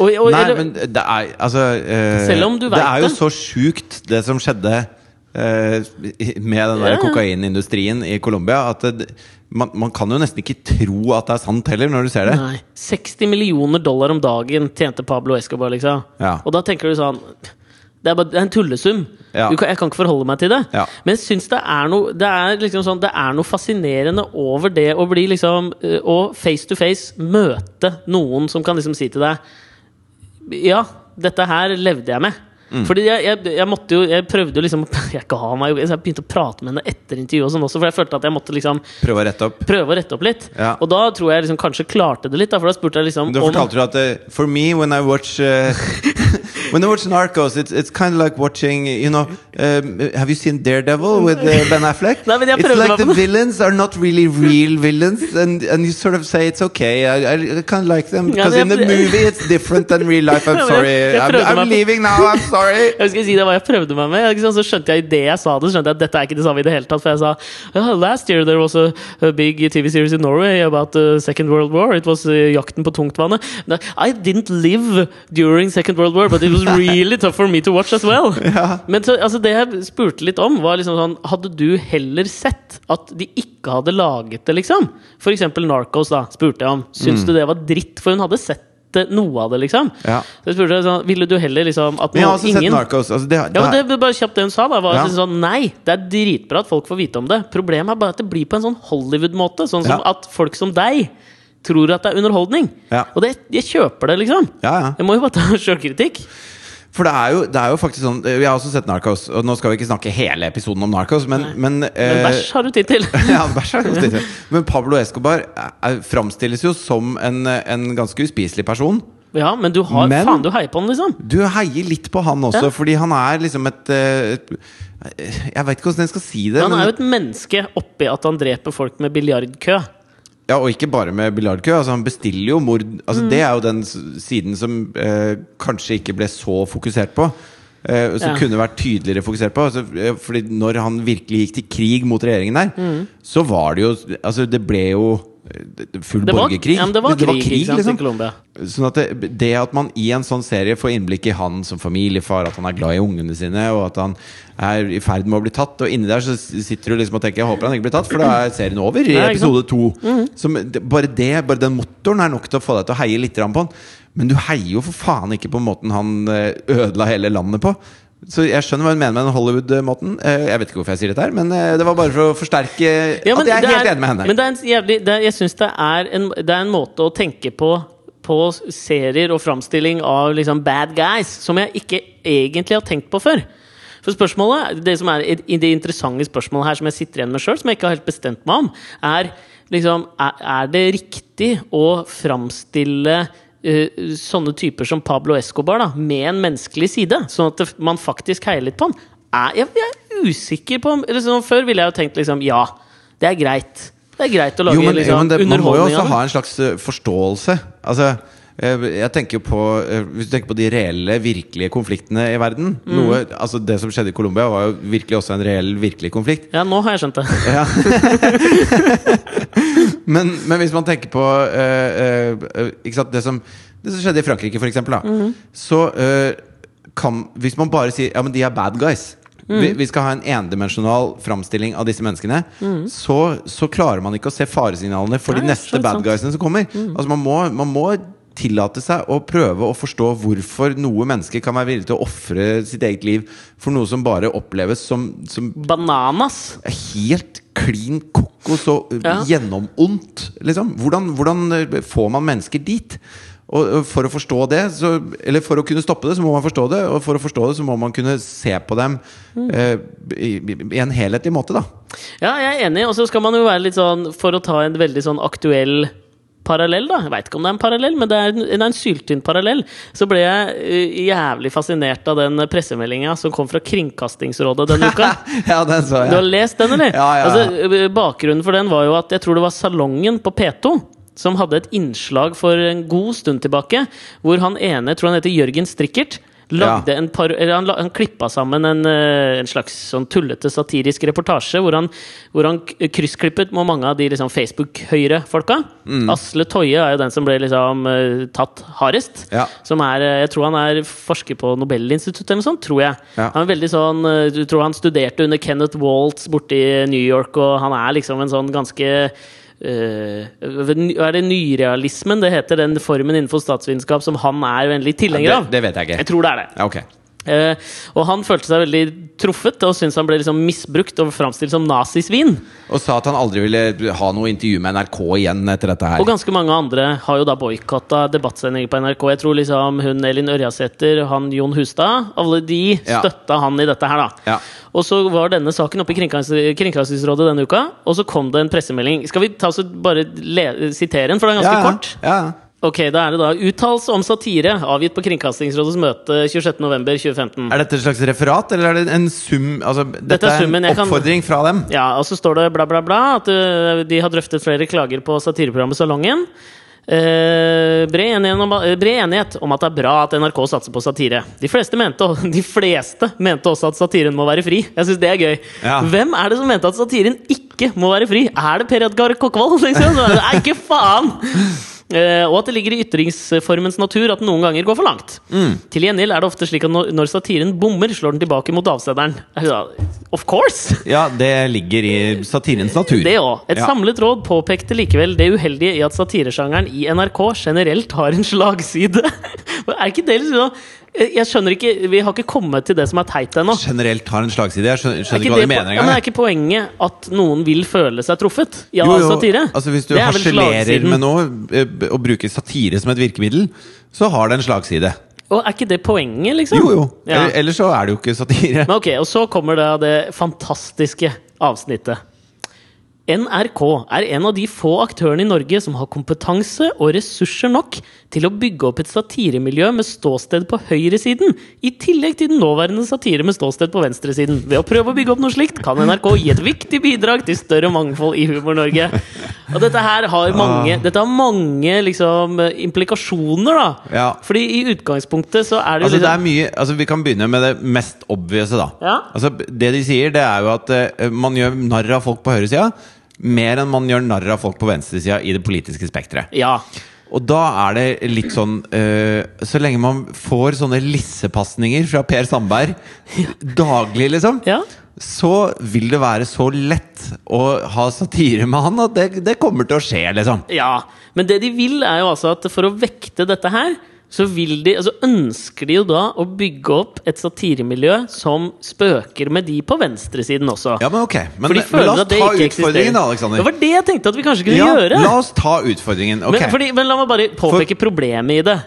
[SPEAKER 1] Og, og,
[SPEAKER 2] Nei,
[SPEAKER 1] eller,
[SPEAKER 2] men det er altså eh,
[SPEAKER 1] Selv om du
[SPEAKER 2] Det
[SPEAKER 1] vet
[SPEAKER 2] er jo
[SPEAKER 1] det.
[SPEAKER 2] så sjukt, det som skjedde eh, i- med den der
[SPEAKER 1] Ja.
[SPEAKER 2] kokainindustrien i Colombia, at det, man, man kan jo nesten ikke tro at det er sant heller, når du ser det.
[SPEAKER 1] Nei. 60 millioner dollar om dagen tjente Pablo Escobar, liksom.
[SPEAKER 2] Ja.
[SPEAKER 1] Og da tenker du sånn det er, bare, det er en tullesum.
[SPEAKER 2] Ja.
[SPEAKER 1] Du kan, jeg kan ikke forholde meg til det.
[SPEAKER 2] Ja.
[SPEAKER 1] Men jeg syns det er noe det er, liksom sånn, det er noe fascinerende over det å bli liksom eh, Å face to face møte noen som kan liksom si til deg Ja, dette her levde jeg med.
[SPEAKER 2] Mm.
[SPEAKER 1] Fordi jeg, jeg, jeg måtte jo Jeg prøvde jo liksom Jeg ga meg jo Så jeg begynte å prate med henne etter intervjuet og sånn også, for jeg følte at jeg måtte liksom
[SPEAKER 2] Prøve å rette opp.
[SPEAKER 1] prøve å rette opp litt.
[SPEAKER 2] Ja.
[SPEAKER 1] Og da tror jeg liksom kanskje klarte det litt. Da, for da spurte jeg liksom
[SPEAKER 2] Du fortalte jo at eh, For me, when I watch eh, When I watch Narcos, it's, it's kind of like watching You know, um, have you seen Daredevil with eh, Ben Affleck?
[SPEAKER 1] Nei, men jeg
[SPEAKER 2] it's
[SPEAKER 1] prøvde
[SPEAKER 2] like
[SPEAKER 1] meg på
[SPEAKER 2] the
[SPEAKER 1] det.
[SPEAKER 2] villains are not really real villains, and, and you sort of say it's okay. I, I kind of like them
[SPEAKER 1] Ja,
[SPEAKER 2] because
[SPEAKER 1] men
[SPEAKER 2] in the
[SPEAKER 1] jeg prøv-
[SPEAKER 2] movie it's different than real life. I'm
[SPEAKER 1] Ja, men jeg-
[SPEAKER 2] sorry.
[SPEAKER 1] jeg
[SPEAKER 2] I'm,
[SPEAKER 1] prøvde meg
[SPEAKER 2] I'm
[SPEAKER 1] på-
[SPEAKER 2] leaving now. I'm sorry.
[SPEAKER 1] jeg skal si det hva jeg prøvde meg med. Ikke sant? Så skjønte jeg idet jeg sa det, så skjønte jeg at dette er ikke det samme i det hele tatt. For jeg sa «Ah, Last year there was a, a big TV series in Norway about the Second World War. It was uh, jakten på tungtvannet. No, I didn't live during Second World War, but it was really tough for me to watch as well. Men så, altså, det jeg spurte litt om, var liksom sånn Hadde du heller sett at de ikke hadde laget det, liksom? For eksempel Narcos, da, spurte jeg om. Syns du det var dritt? For hun hadde sett det- noe av det, liksom.
[SPEAKER 2] Mm. Ja.
[SPEAKER 1] Så jeg spurte sånn, Ville du heller liksom at
[SPEAKER 2] Men jeg har
[SPEAKER 1] noen-
[SPEAKER 2] også sett Narcos. Altså, det,
[SPEAKER 1] ja, men
[SPEAKER 2] det,
[SPEAKER 1] det det er bare kjapt det hun sa, da. Var
[SPEAKER 2] Ja.
[SPEAKER 1] liksom sånn, nei, det er dritbra at folk får vite om det. Problemet er bare at det blir på en sånn Hollywood-måte. Sånn som
[SPEAKER 2] Ja.
[SPEAKER 1] at folk som deg tror at det er underholdning.
[SPEAKER 2] Ja.
[SPEAKER 1] Og det, jeg kjøper det, liksom.
[SPEAKER 2] ja, ja.
[SPEAKER 1] Jeg må jo bare ta sjølkritikk.
[SPEAKER 2] For det er, jo, det er jo faktisk sånn Jeg har også sett Narcos, og nå skal vi ikke snakke hele episoden om Narcos, men, men,
[SPEAKER 1] Men
[SPEAKER 2] eh,
[SPEAKER 1] bæsj har du tid til.
[SPEAKER 2] ja, bæsj er godt inntrykk. Men Pablo Escobar er- er- framstilles jo som en, en ganske uspiselig person.
[SPEAKER 1] Ja, men du har
[SPEAKER 2] Men-
[SPEAKER 1] Faen, du heier på den, liksom.
[SPEAKER 2] Du heier litt på han også,
[SPEAKER 1] Ja.
[SPEAKER 2] fordi han er liksom et eh, et- Jeg veit ikke hvordan jeg skal si det.
[SPEAKER 1] Han
[SPEAKER 2] Men,
[SPEAKER 1] er jo et menneske oppi at han dreper folk med biljardkø.
[SPEAKER 2] ja, og ikke bare med biljardkø. Altså, han bestiller jo mord. Altså,
[SPEAKER 1] Mm.
[SPEAKER 2] Det er jo den s- siden som eh, kanskje ikke ble så fokusert på. eh, som
[SPEAKER 1] Ja.
[SPEAKER 2] kunne vært tydeligere fokusert på. Altså, eh, fordi når han virkelig gikk til krig mot regjeringen der,
[SPEAKER 1] Mm.
[SPEAKER 2] så var det jo Altså, det ble jo eh, full
[SPEAKER 1] Det var,
[SPEAKER 2] borgerkrig.
[SPEAKER 1] ja, men det var krig, ikke sant, i Colombia.
[SPEAKER 2] Sånn at det, det at man i en sånn serie får innblikk i han som familiefar, at han er glad i ungene sine, og at han er i ferd med å bli tatt, og inni der så sitter du liksom og tenker Jeg håper han ikke blir tatt, for da er serien over i
[SPEAKER 1] Ja, ikke sant? Mhm.
[SPEAKER 2] episode to. Som, det, bare det, bare den motoren er nok til å få deg til å heie litt grann på han. Men du heier jo for faen ikke på måten han eh, ødela hele landet på. Så jeg skjønner hva hun mener med den Hollywood-måten. Eh, Jeg vet ikke hvorfor jeg sier dette her, men eh, det var bare for å forsterke
[SPEAKER 1] Ja, men
[SPEAKER 2] at jeg er
[SPEAKER 1] det
[SPEAKER 2] helt enig med henne.
[SPEAKER 1] Men det er en jævlig det er, Jeg syns det, er en- det er en måte å tenke på på serier og framstilling av liksom bad guys som jeg ikke egentlig har tenkt på før. For spørsmålet, Det som er i- i det interessante spørsmålet her som jeg sitter igjen med sjøl, som jeg ikke har helt bestemt meg om, er liksom Er, er det riktig å framstille eh, sånne typer som Pablo Escobar da, med en menneskelig side, sånn at det- man faktisk heier litt på han? Er, jeg, jeg er usikker på om liksom, Før ville jeg jo tenkt liksom ja, det er greit. Det er greit å lage
[SPEAKER 2] jo, men, jo,
[SPEAKER 1] liksom,
[SPEAKER 2] men det, man må jo
[SPEAKER 1] underholdning
[SPEAKER 2] også
[SPEAKER 1] av det.
[SPEAKER 2] ha en slags eh, forståelse. Altså, eh, jeg tenker jo på eh, Hvis du tenker på de reelle, virkelige konfliktene i verden
[SPEAKER 1] Mm.
[SPEAKER 2] noe, altså Det som skjedde i Colombia, var jo virkelig også en reell, virkelig konflikt.
[SPEAKER 1] Ja, nå har jeg skjønt det.
[SPEAKER 2] Ja. men, men hvis man tenker på eh, eh, ikke sant, det, som, det som skjedde i Frankrike, for eksempel, da,
[SPEAKER 1] Mhm.
[SPEAKER 2] så eh, kan Hvis man bare sier ja, men de er bad guys vi,
[SPEAKER 1] Mhm.
[SPEAKER 2] vi skal ha en endimensjonal framstilling av disse menneskene. Så, så klarer man ikke å se faresignalene for de
[SPEAKER 1] Mhm. Nei,
[SPEAKER 2] neste
[SPEAKER 1] så
[SPEAKER 2] bad
[SPEAKER 1] sant. Mhm.
[SPEAKER 2] guysene som kommer. Altså man må, man må tillate seg å prøve å forstå hvorfor noe menneske kan være villig til å ofre sitt eget liv for noe som bare oppleves som, som
[SPEAKER 1] Bananas!
[SPEAKER 2] helt klin kokos og
[SPEAKER 1] Ja.
[SPEAKER 2] gjennomondt, liksom. Hvordan, hvordan eh, får man eh, mennesker dit? Og og for å forstå det, så, eller for å kunne stoppe det, så må man forstå det. Og for å forstå det, så må man kunne se på dem
[SPEAKER 1] Mm.
[SPEAKER 2] eh, i, i- i en helhetlig måte, da.
[SPEAKER 1] Ja, jeg er enig. Og så skal man jo være litt sånn For å ta en veldig sånn aktuell parallell, da. Jeg veit ikke om det er en parallell, men det er en, det er en syltynn parallell. Så ble jeg eh, jævlig fascinert av den pressemeldinga som kom fra Kringkastingsrådet denne uka.
[SPEAKER 2] ja, den så
[SPEAKER 1] Du har
[SPEAKER 2] jeg.
[SPEAKER 1] lest den, eller?
[SPEAKER 2] Ja, ja, ja.
[SPEAKER 1] Altså, eh, bakgrunnen for den var jo at jeg tror det var Salongen på P2 som hadde et innslag for en god stund tilbake, hvor han ene, jeg tror han heter Jørgen Strikkert, lagde en par, eller han, la- han klippa sammen en, eh, en slags sånn tullete satirisk reportasje, hvor han, hvor han k- kryssklippet med mange av de liksom, Facebook-høyre-folka.
[SPEAKER 2] Mm.
[SPEAKER 1] Asle Toje er jo den som ble liksom, eh, tatt hardest.
[SPEAKER 2] Ja.
[SPEAKER 1] Som er, eh, jeg tror han er forsker på Nobelinstituttet eller noe sånt, tror jeg.
[SPEAKER 2] Ja.
[SPEAKER 1] Han er veldig sånn, eh, du tror han studerte under Kenneth Waltz borte i New York, og han er liksom en sånn ganske eh, er det nyrealismen det heter, den formen innenfor statsvitenskap som han er veldig tilhenger
[SPEAKER 2] Det,
[SPEAKER 1] av?
[SPEAKER 2] det vet jeg
[SPEAKER 1] Jeg
[SPEAKER 2] ikke.
[SPEAKER 1] tror det er det.
[SPEAKER 2] Ja, ok.
[SPEAKER 1] Eh, og han følte seg veldig truffet, og syntes han ble liksom misbrukt og framstilt som nazisvin.
[SPEAKER 2] Og sa at han aldri ville ha noe intervju med NRK igjen etter dette
[SPEAKER 1] Og
[SPEAKER 2] her.
[SPEAKER 1] ganske mange andre har jo da boikotta debattsendinger på NRK. Jeg tror liksom hun Elin Ørjasæter, han Jon Hustad, alle de
[SPEAKER 2] Ja.
[SPEAKER 1] støtta han i dette her, da.
[SPEAKER 2] Ja.
[SPEAKER 1] Og så var denne saken oppe i Kringkast- Kringkastingsrådet denne uka, og så kom det en pressemelding. Skal vi ta oss og bare le sitere den, for den er ganske
[SPEAKER 2] ja,
[SPEAKER 1] kort?
[SPEAKER 2] Ja, ja.
[SPEAKER 1] Ok, da er det da uttalelse om satire avgitt på Kringkastingsrådets møte 26.11.2015.
[SPEAKER 2] Er dette et slags referat, eller er det en sum altså, Dette,
[SPEAKER 1] Dette er
[SPEAKER 2] er,
[SPEAKER 1] summen, jeg
[SPEAKER 2] en
[SPEAKER 1] kan-
[SPEAKER 2] oppfordring fra dem?
[SPEAKER 1] Ja, og så står det bla, bla, bla at ø, de har drøftet flere klager på satireprogrammet Salongen. Eh, bred, enighet om, eh, bred enighet om at det er bra at NRK satser på satire. De fleste mente, de fleste mente også at satiren må være fri. Jeg syns det er gøy.
[SPEAKER 2] Ja.
[SPEAKER 1] Hvem er det som mente at satiren ikke må være fri? Er det Per Edgar Kokkvold? Liksom? Nei, ikke faen! Eh, og at det ligger i ytringsformens natur at den noen ganger går for langt. Til gjengjeld er det ofte slik at når, når satiren bommer, slår den tilbake mot avsenderen. Altså, Of course!
[SPEAKER 2] Ja, det ligger i satirens natur.
[SPEAKER 1] Det òg. Et
[SPEAKER 2] Ja.
[SPEAKER 1] samlet råd påpekte likevel det uheldige i at satiresjangeren i NRK generelt har en slagside. er ikke det liksom Jeg skjønner ikke Vi har ikke kommet til det som er teit ennå.
[SPEAKER 2] Generelt har en slagside. Jeg skjønner, skjønner ikke,
[SPEAKER 1] det
[SPEAKER 2] hva de
[SPEAKER 1] po-
[SPEAKER 2] mener
[SPEAKER 1] ja, men
[SPEAKER 2] engang.
[SPEAKER 1] er ikke poenget at noen vil føle seg truffet? Ja,
[SPEAKER 2] Jo, jo,
[SPEAKER 1] satire.
[SPEAKER 2] Altså, hvis du
[SPEAKER 1] Det er vel
[SPEAKER 2] harselerer
[SPEAKER 1] slagsiden.
[SPEAKER 2] med noe eh, b- og bruker satire som et virkemiddel, så har det en slagside.
[SPEAKER 1] Og er ikke det poenget, liksom?
[SPEAKER 2] Jo, jo.
[SPEAKER 1] Ja.
[SPEAKER 2] Eller, ellers så er det jo ikke satire.
[SPEAKER 1] Men ok, og så kommer da det fantastiske avsnittet. NRK er en av de få aktørene i Norge som har kompetanse og ressurser nok til å bygge opp et satiremiljø med ståsted på høyresiden, i tillegg til den nåværende satire med ståsted på venstresiden. Ved å prøve å bygge opp noe slikt kan NRK gi et viktig bidrag til større mangfold i Humor-Norge. Og dette her har
[SPEAKER 2] Ah.
[SPEAKER 1] mange, dette har mange liksom, implikasjoner, da.
[SPEAKER 2] Ja.
[SPEAKER 1] Fordi i utgangspunktet så er det jo
[SPEAKER 2] Altså, det
[SPEAKER 1] liksom
[SPEAKER 2] er mye, altså, vi kan begynne med det mest obviouse, da.
[SPEAKER 1] Ja.
[SPEAKER 2] Altså, det de sier, det er jo at eh, man gjør narr av folk på høyresida mer enn man gjør narr av folk på venstresida i det politiske spekteret.
[SPEAKER 1] Ja.
[SPEAKER 2] Og da er det litt sånn eh, Så lenge man får sånne lissepasninger fra Per Sandberg daglig, liksom,
[SPEAKER 1] Ja.
[SPEAKER 2] så vil det være så lett å ha satire med han at det, det kommer til å skje, liksom.
[SPEAKER 1] Ja, men det de vil er jo altså at for å vekte dette her så vil de, altså ønsker de jo da å bygge opp et satiremiljø som spøker med de på venstresiden også.
[SPEAKER 2] Ja, men ok. Men,
[SPEAKER 1] For de
[SPEAKER 2] men
[SPEAKER 1] føler
[SPEAKER 2] la oss
[SPEAKER 1] at det
[SPEAKER 2] ta
[SPEAKER 1] ikke eksisterer.
[SPEAKER 2] utfordringen, da, Aleksander.
[SPEAKER 1] Det var det jeg tenkte at vi kanskje kunne
[SPEAKER 2] ja,
[SPEAKER 1] gjøre.
[SPEAKER 2] La oss ta utfordringen. Ok.
[SPEAKER 1] Men, fordi, men la meg bare påpeke problemet i det.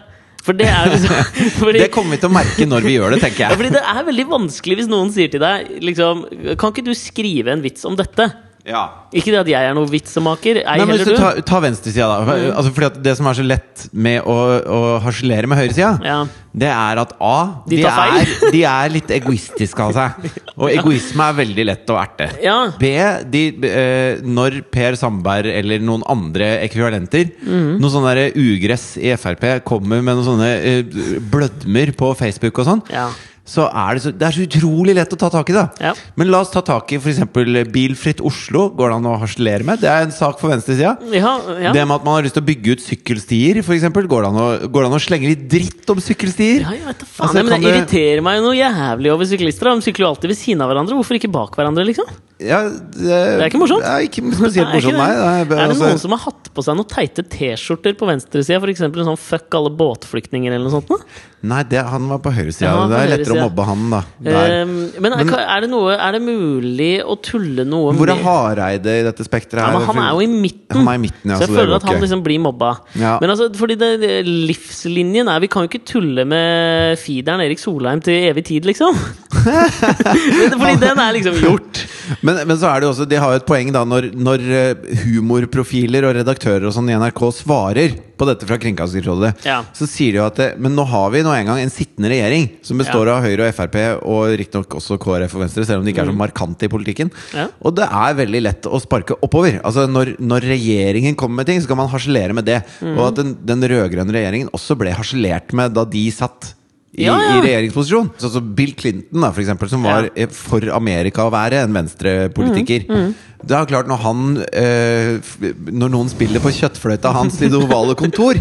[SPEAKER 1] For det er jo liksom fordi,
[SPEAKER 2] Det kommer vi til å merke når vi gjør det, tenker
[SPEAKER 1] ja,
[SPEAKER 2] jeg.
[SPEAKER 1] fordi det er veldig vanskelig hvis noen sier til deg liksom, Kan ikke du skrive en vits om dette?
[SPEAKER 2] Ja.
[SPEAKER 1] Ikke det at jeg er noen vitsemaker, ei
[SPEAKER 2] Nei, men
[SPEAKER 1] heller
[SPEAKER 2] hvis du
[SPEAKER 1] du. Mm.
[SPEAKER 2] tar, tar venstresida, da. Altså, fordi at det som er så lett med å, å harselere med høyresida,
[SPEAKER 1] Ja.
[SPEAKER 2] det er at A
[SPEAKER 1] De tar feil.
[SPEAKER 2] er, de er litt egoistiske av seg. Og egoisme er veldig lett å erte.
[SPEAKER 1] Ja.
[SPEAKER 2] B de, eh, Når Per Sandberg eller noen andre ekvivalenter,
[SPEAKER 1] Mm.
[SPEAKER 2] noe sånn der ugress i Frp, kommer med noen sånne eh, blødmer på Facebook og sånn,
[SPEAKER 1] Ja.
[SPEAKER 2] så er det, så, det er så utrolig lett å ta tak i det.
[SPEAKER 1] Ja.
[SPEAKER 2] Men la oss ta tak i f.eks. Bilfritt Oslo. Går det an å harselere med? Det er en sak for venstresida.
[SPEAKER 1] Ja, ja.
[SPEAKER 2] Det med at man har lyst til å bygge ut sykkelstier, f.eks. Går, det an å- går det an å slenge litt dritt om sykkelstier?
[SPEAKER 1] Ja, jeg vet da faen,
[SPEAKER 2] Altså,
[SPEAKER 1] Nei, men
[SPEAKER 2] kan
[SPEAKER 1] Det
[SPEAKER 2] du-
[SPEAKER 1] irriterer meg noe jævlig over syklister. da. De sykler jo alltid ved siden av hverandre. Hvorfor ikke bak hverandre, liksom?
[SPEAKER 2] Ja, det,
[SPEAKER 1] er ikke morsomt.
[SPEAKER 2] Det er ikke spesielt
[SPEAKER 1] Nei, er ikke
[SPEAKER 2] morsomt, nei.
[SPEAKER 1] det.
[SPEAKER 2] nei
[SPEAKER 1] er det
[SPEAKER 2] altså-
[SPEAKER 1] noen som har hatt på seg noen teite T-skjorter på venstresida? F.eks. en sånn 'fuck alle båtflyktninger' eller noe sånt? Da?
[SPEAKER 2] Nei, det, han var på høyresida.
[SPEAKER 1] Ja, han
[SPEAKER 2] det
[SPEAKER 1] var
[SPEAKER 2] er
[SPEAKER 1] på
[SPEAKER 2] lettere å
[SPEAKER 1] høyresida.
[SPEAKER 2] mobbe han, da. Der.
[SPEAKER 1] Eh, men er, er, det noe, er det mulig å tulle noe
[SPEAKER 2] Hvor er
[SPEAKER 1] med-
[SPEAKER 2] Hareide i dette spekteret?
[SPEAKER 1] Ja,
[SPEAKER 2] her?
[SPEAKER 1] men han er jo i midten.
[SPEAKER 2] Han er i midten, ja,
[SPEAKER 1] så
[SPEAKER 2] så altså,
[SPEAKER 1] jeg
[SPEAKER 2] det
[SPEAKER 1] føler
[SPEAKER 2] går
[SPEAKER 1] at han
[SPEAKER 2] ikke.
[SPEAKER 1] liksom blir mobba.
[SPEAKER 2] Ja.
[SPEAKER 1] Men altså, fordi det, det- livslinjen er Vi kan jo ikke tulle med feederen Erik Solheim til evig tid, liksom. Men fordi den er liksom gjort.
[SPEAKER 2] Men, men så er det jo også, de har jo et poeng da når, når eh, humorprofiler og redaktører og sånn i NRK svarer på dette fra Kringkastingsrådet,
[SPEAKER 1] Ja.
[SPEAKER 2] så sier de jo at det, Men nå har vi nå en gang en sittende regjering som består av Høyre og Frp og riktignok også KrF og Venstre, selv om de ikke er så markante i politikken.
[SPEAKER 1] Mm. Ja.
[SPEAKER 2] Og det er veldig lett å sparke oppover. Altså Når, når regjeringen kommer med ting, så kan man harselere med det.
[SPEAKER 1] Mm.
[SPEAKER 2] Og at den, den rød-grønne regjeringen også ble harselert med da de satt. I,
[SPEAKER 1] Ja, ja.
[SPEAKER 2] i regjeringsposisjon. Sånn som Bill Clinton, da, for eksempel, som var
[SPEAKER 1] Ja.
[SPEAKER 2] eh, for Amerika å være en venstrepolitiker.
[SPEAKER 1] Mm,
[SPEAKER 2] Det er klart, når han eh, f- Når noen spiller på kjøttfløyta hans i det ovale kontor,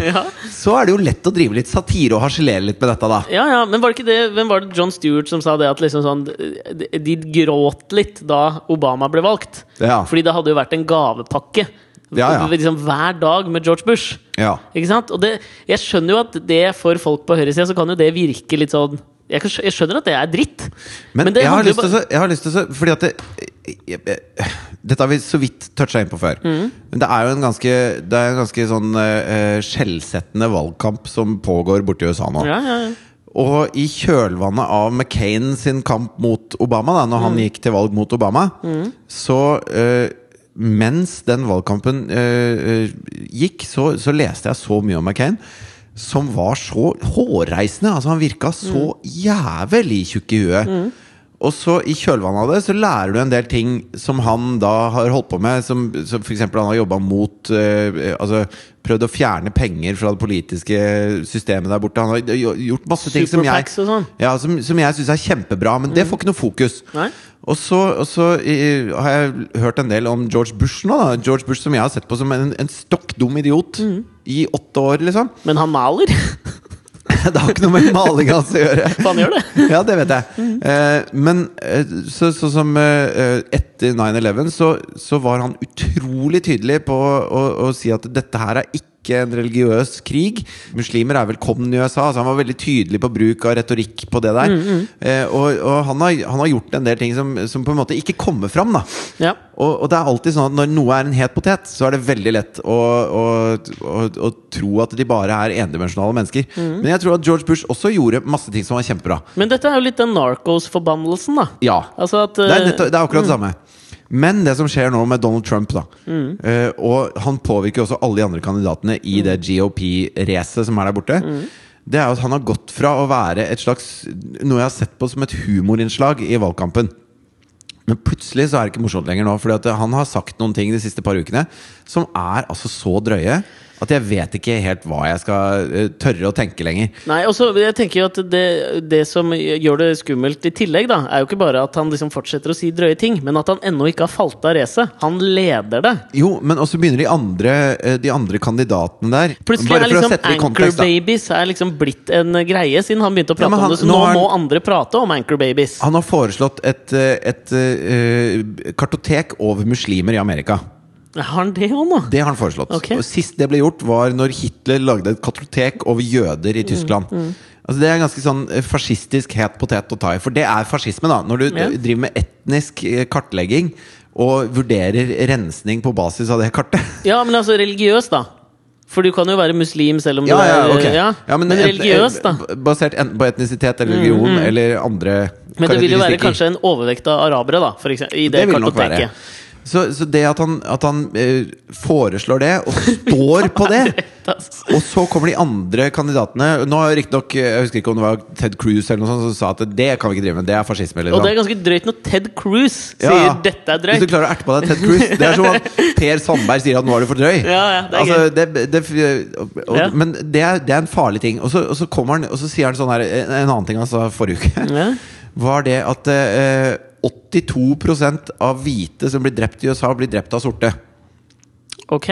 [SPEAKER 2] så er det jo lett å drive litt satire og harselere litt med dette, da.
[SPEAKER 1] Ja, ja, men var det ikke det Hvem var det John Stewart som sa det at liksom sånn De, de gråt litt da Obama ble valgt.
[SPEAKER 2] Ja.
[SPEAKER 1] Fordi det hadde jo vært en gavepakke
[SPEAKER 2] Ja, ja.
[SPEAKER 1] Liksom hver dag med George Bush.
[SPEAKER 2] Ja.
[SPEAKER 1] Ikke sant? Og det, jeg skjønner jo at det for folk på høyresida, så kan jo det virke litt sånn Jeg, kan skjø- jeg skjønner at det er dritt.
[SPEAKER 2] Men,
[SPEAKER 1] det
[SPEAKER 2] jeg, har
[SPEAKER 1] handler
[SPEAKER 2] lyst
[SPEAKER 1] jo
[SPEAKER 2] til å, så- jeg har lyst til å så- Fordi at det, jeg, jeg, Dette har vi så vidt toucha inn på før.
[SPEAKER 1] Mm.
[SPEAKER 2] Men det er jo en ganske Det er en ganske sånn eh, eh, skjellsettende valgkamp som pågår borti USA nå.
[SPEAKER 1] bare- ja, ja, ja.
[SPEAKER 2] Og i kjølvannet av McCain sin kamp mot Obama, da når han gikk til valg mot Obama, så eh, mens den valgkampen eh, eh, gikk, så, så leste jeg så mye om McCain. Som var så hårreisende. Altså Han virka så jævlig tjukk i huet. Og så i kjølvannet av det så lærer du en del ting som han da har holdt på med. Som, som f.eks. han har jobba mot eh, Altså prøvd å fjerne penger fra det politiske systemet der borte. Han har jo- gjort masse ting som jeg
[SPEAKER 1] Superpacks og sånn. Mm.
[SPEAKER 2] ja, som, som jeg syns er kjempebra, men det får ikke noe fokus.
[SPEAKER 1] Nei.
[SPEAKER 2] Og så, og så eh, har jeg hørt en del om George Bush nå. Da. George Bush som jeg har sett på som en, en stokk dum idiot
[SPEAKER 1] Mm.
[SPEAKER 2] i åtte år, liksom.
[SPEAKER 1] Men han maler.
[SPEAKER 2] det har ikke noe med maling hans å gjøre.
[SPEAKER 1] For han gjør det.
[SPEAKER 2] Ja, det vet jeg. Eh, men eh, så- sånn som eh, eh, etter 9-11, så, så var han utrolig tydelig på å, å si at dette her er ikke en religiøs krig. Muslimer er velkommen i USA. Altså han var veldig tydelig på bruk av retorikk på det der. Eh, og og han, har, han har gjort en del ting som, som på en måte ikke kommer fram, da.
[SPEAKER 1] Ja.
[SPEAKER 2] Og, og det er alltid sånn at når noe er en het potet, så er det veldig lett å, å, å, å tro at de bare er endimensjonale mennesker. Men jeg tror at George Bush også gjorde masse ting som var kjempebra.
[SPEAKER 1] Men dette er jo litt den Narcos-forbannelsen, da.
[SPEAKER 2] Ja,
[SPEAKER 1] Altså at
[SPEAKER 2] det er,
[SPEAKER 1] eh,
[SPEAKER 2] nettopp, det er akkurat det samme. Men det som skjer nå med Donald Trump, da
[SPEAKER 1] Mm.
[SPEAKER 2] eh, Og han påvirker jo også alle de andre kandidatene i det GOP-racet som er der borte.
[SPEAKER 1] Mm.
[SPEAKER 2] Det er jo at han har gått fra å være et slags noe jeg har sett på som et humorinnslag i valgkampen. Men plutselig så er det ikke morsomt lenger nå. Fordi at han har sagt noen ting de siste par ukene som er altså så drøye at jeg vet ikke helt hva jeg skal eh, tørre å tenke lenger.
[SPEAKER 1] Nei, og så jeg tenker jo at det, det som gjør det skummelt i tillegg, da, er jo ikke bare at han liksom fortsetter å si drøye ting, men at han ennå ikke har falt av racet. Han leder det.
[SPEAKER 2] Jo, men også begynner de andre, eh, de andre kandidatene der
[SPEAKER 1] Plutselig
[SPEAKER 2] Bare for
[SPEAKER 1] er
[SPEAKER 2] å
[SPEAKER 1] liksom
[SPEAKER 2] sette det i
[SPEAKER 1] Anchor
[SPEAKER 2] kontekst, da.
[SPEAKER 1] Babies er liksom blitt en greie, siden han begynte å
[SPEAKER 2] Ja,
[SPEAKER 1] prate
[SPEAKER 2] men han- Ah.
[SPEAKER 1] om det. Så
[SPEAKER 2] nå
[SPEAKER 1] nå,
[SPEAKER 2] er-
[SPEAKER 1] må andre prate om Anchor Babies.
[SPEAKER 2] Han har foreslått et, eh, et, eh, kartotek over muslimer i Amerika.
[SPEAKER 1] Har han det òg nå?
[SPEAKER 2] Det har han foreslått.
[SPEAKER 1] Ok.
[SPEAKER 2] Og sist det ble gjort, var når Hitler lagde et kartotek over jøder i
[SPEAKER 1] Mm,
[SPEAKER 2] Tyskland. Altså Det er ganske sånn eh, fascistisk het potet å ta i. For det er fascisme, da. Når du
[SPEAKER 1] Ja.
[SPEAKER 2] d- driver med etnisk eh, kartlegging og vurderer rensning på basis av det kartet.
[SPEAKER 1] Ja, men altså religiøs, da. For du kan jo være muslim selv om du
[SPEAKER 2] Ja, ja,
[SPEAKER 1] er
[SPEAKER 2] ok
[SPEAKER 1] ja. men,
[SPEAKER 2] enten-
[SPEAKER 1] religiøs, da. Mm,
[SPEAKER 2] b- Basert enten på etnisitet eller religion eller andre
[SPEAKER 1] Men det vil jo være
[SPEAKER 2] karakteristikker.
[SPEAKER 1] kanskje en overvekt av arabere, da. For eksempel, I det,
[SPEAKER 2] vil nok være.
[SPEAKER 1] kartoteket.
[SPEAKER 2] Så, så det at han, at han eh, foreslår det, og står på det Og så kommer de andre kandidatene. Nå har riktignok eh, Jeg husker ikke om det var Ted Cruz eller noe sånt som sa at det kan vi ikke drive med, det er fascisme. Eller
[SPEAKER 1] Og
[SPEAKER 2] noe
[SPEAKER 1] det er
[SPEAKER 2] sånt.
[SPEAKER 1] ganske drøyt når Ted Cruz sier
[SPEAKER 2] Ja, ja.
[SPEAKER 1] 'dette er
[SPEAKER 2] Hvis du
[SPEAKER 1] drøyt'.
[SPEAKER 2] klarer å erte på deg Ted Cruz Det er som at Per Sandberg sier at 'nå er du for drøy'.
[SPEAKER 1] Ja, ja, det er
[SPEAKER 2] altså, det, det, og, og,
[SPEAKER 1] Ja.
[SPEAKER 2] Men det er, det er en farlig ting. Og så, og så kommer han Og så sier han sånn her En en annen ting han sa forrige uke.
[SPEAKER 1] Ja.
[SPEAKER 2] var det at eh, 82 av hvite som blir drept i USA, blir drept av sorte.
[SPEAKER 1] Ok.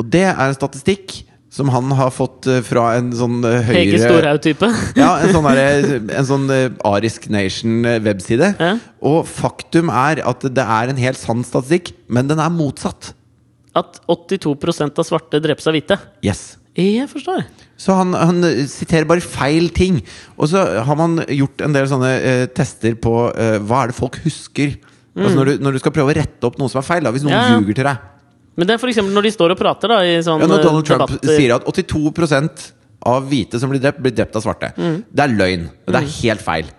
[SPEAKER 2] Og det er en statistikk som han har fått eh, fra en sånn eh,
[SPEAKER 1] Hege
[SPEAKER 2] høyre
[SPEAKER 1] Storhaug-type.
[SPEAKER 2] ja, en sånn, derre- en sånn eh, Arisk eh, Nation-webside.
[SPEAKER 1] Ja.
[SPEAKER 2] Og faktum er at det er en helt sann statistikk, men den er motsatt.
[SPEAKER 1] at 82 av svarte drepes av hvite.
[SPEAKER 2] Yes.
[SPEAKER 1] Jeg forstår.
[SPEAKER 2] Så han, han siterer bare feil ting. Og så har man gjort en del sånne eh, tester på eh, hva er det folk husker. Altså når, du, når du skal prøve å rette opp noe som er feil, da, hvis noen
[SPEAKER 1] Mm. Ja, ja.
[SPEAKER 2] ljuger til deg.
[SPEAKER 1] Men det er f.eks. når de står og prater, da, i sånn
[SPEAKER 2] Ja, når Donald
[SPEAKER 1] eh,
[SPEAKER 2] Trump
[SPEAKER 1] debatter.
[SPEAKER 2] sier at 82 av hvite som blir drept, blir drept av svarte.
[SPEAKER 1] Mm.
[SPEAKER 2] Det er løgn. og Det er helt feil.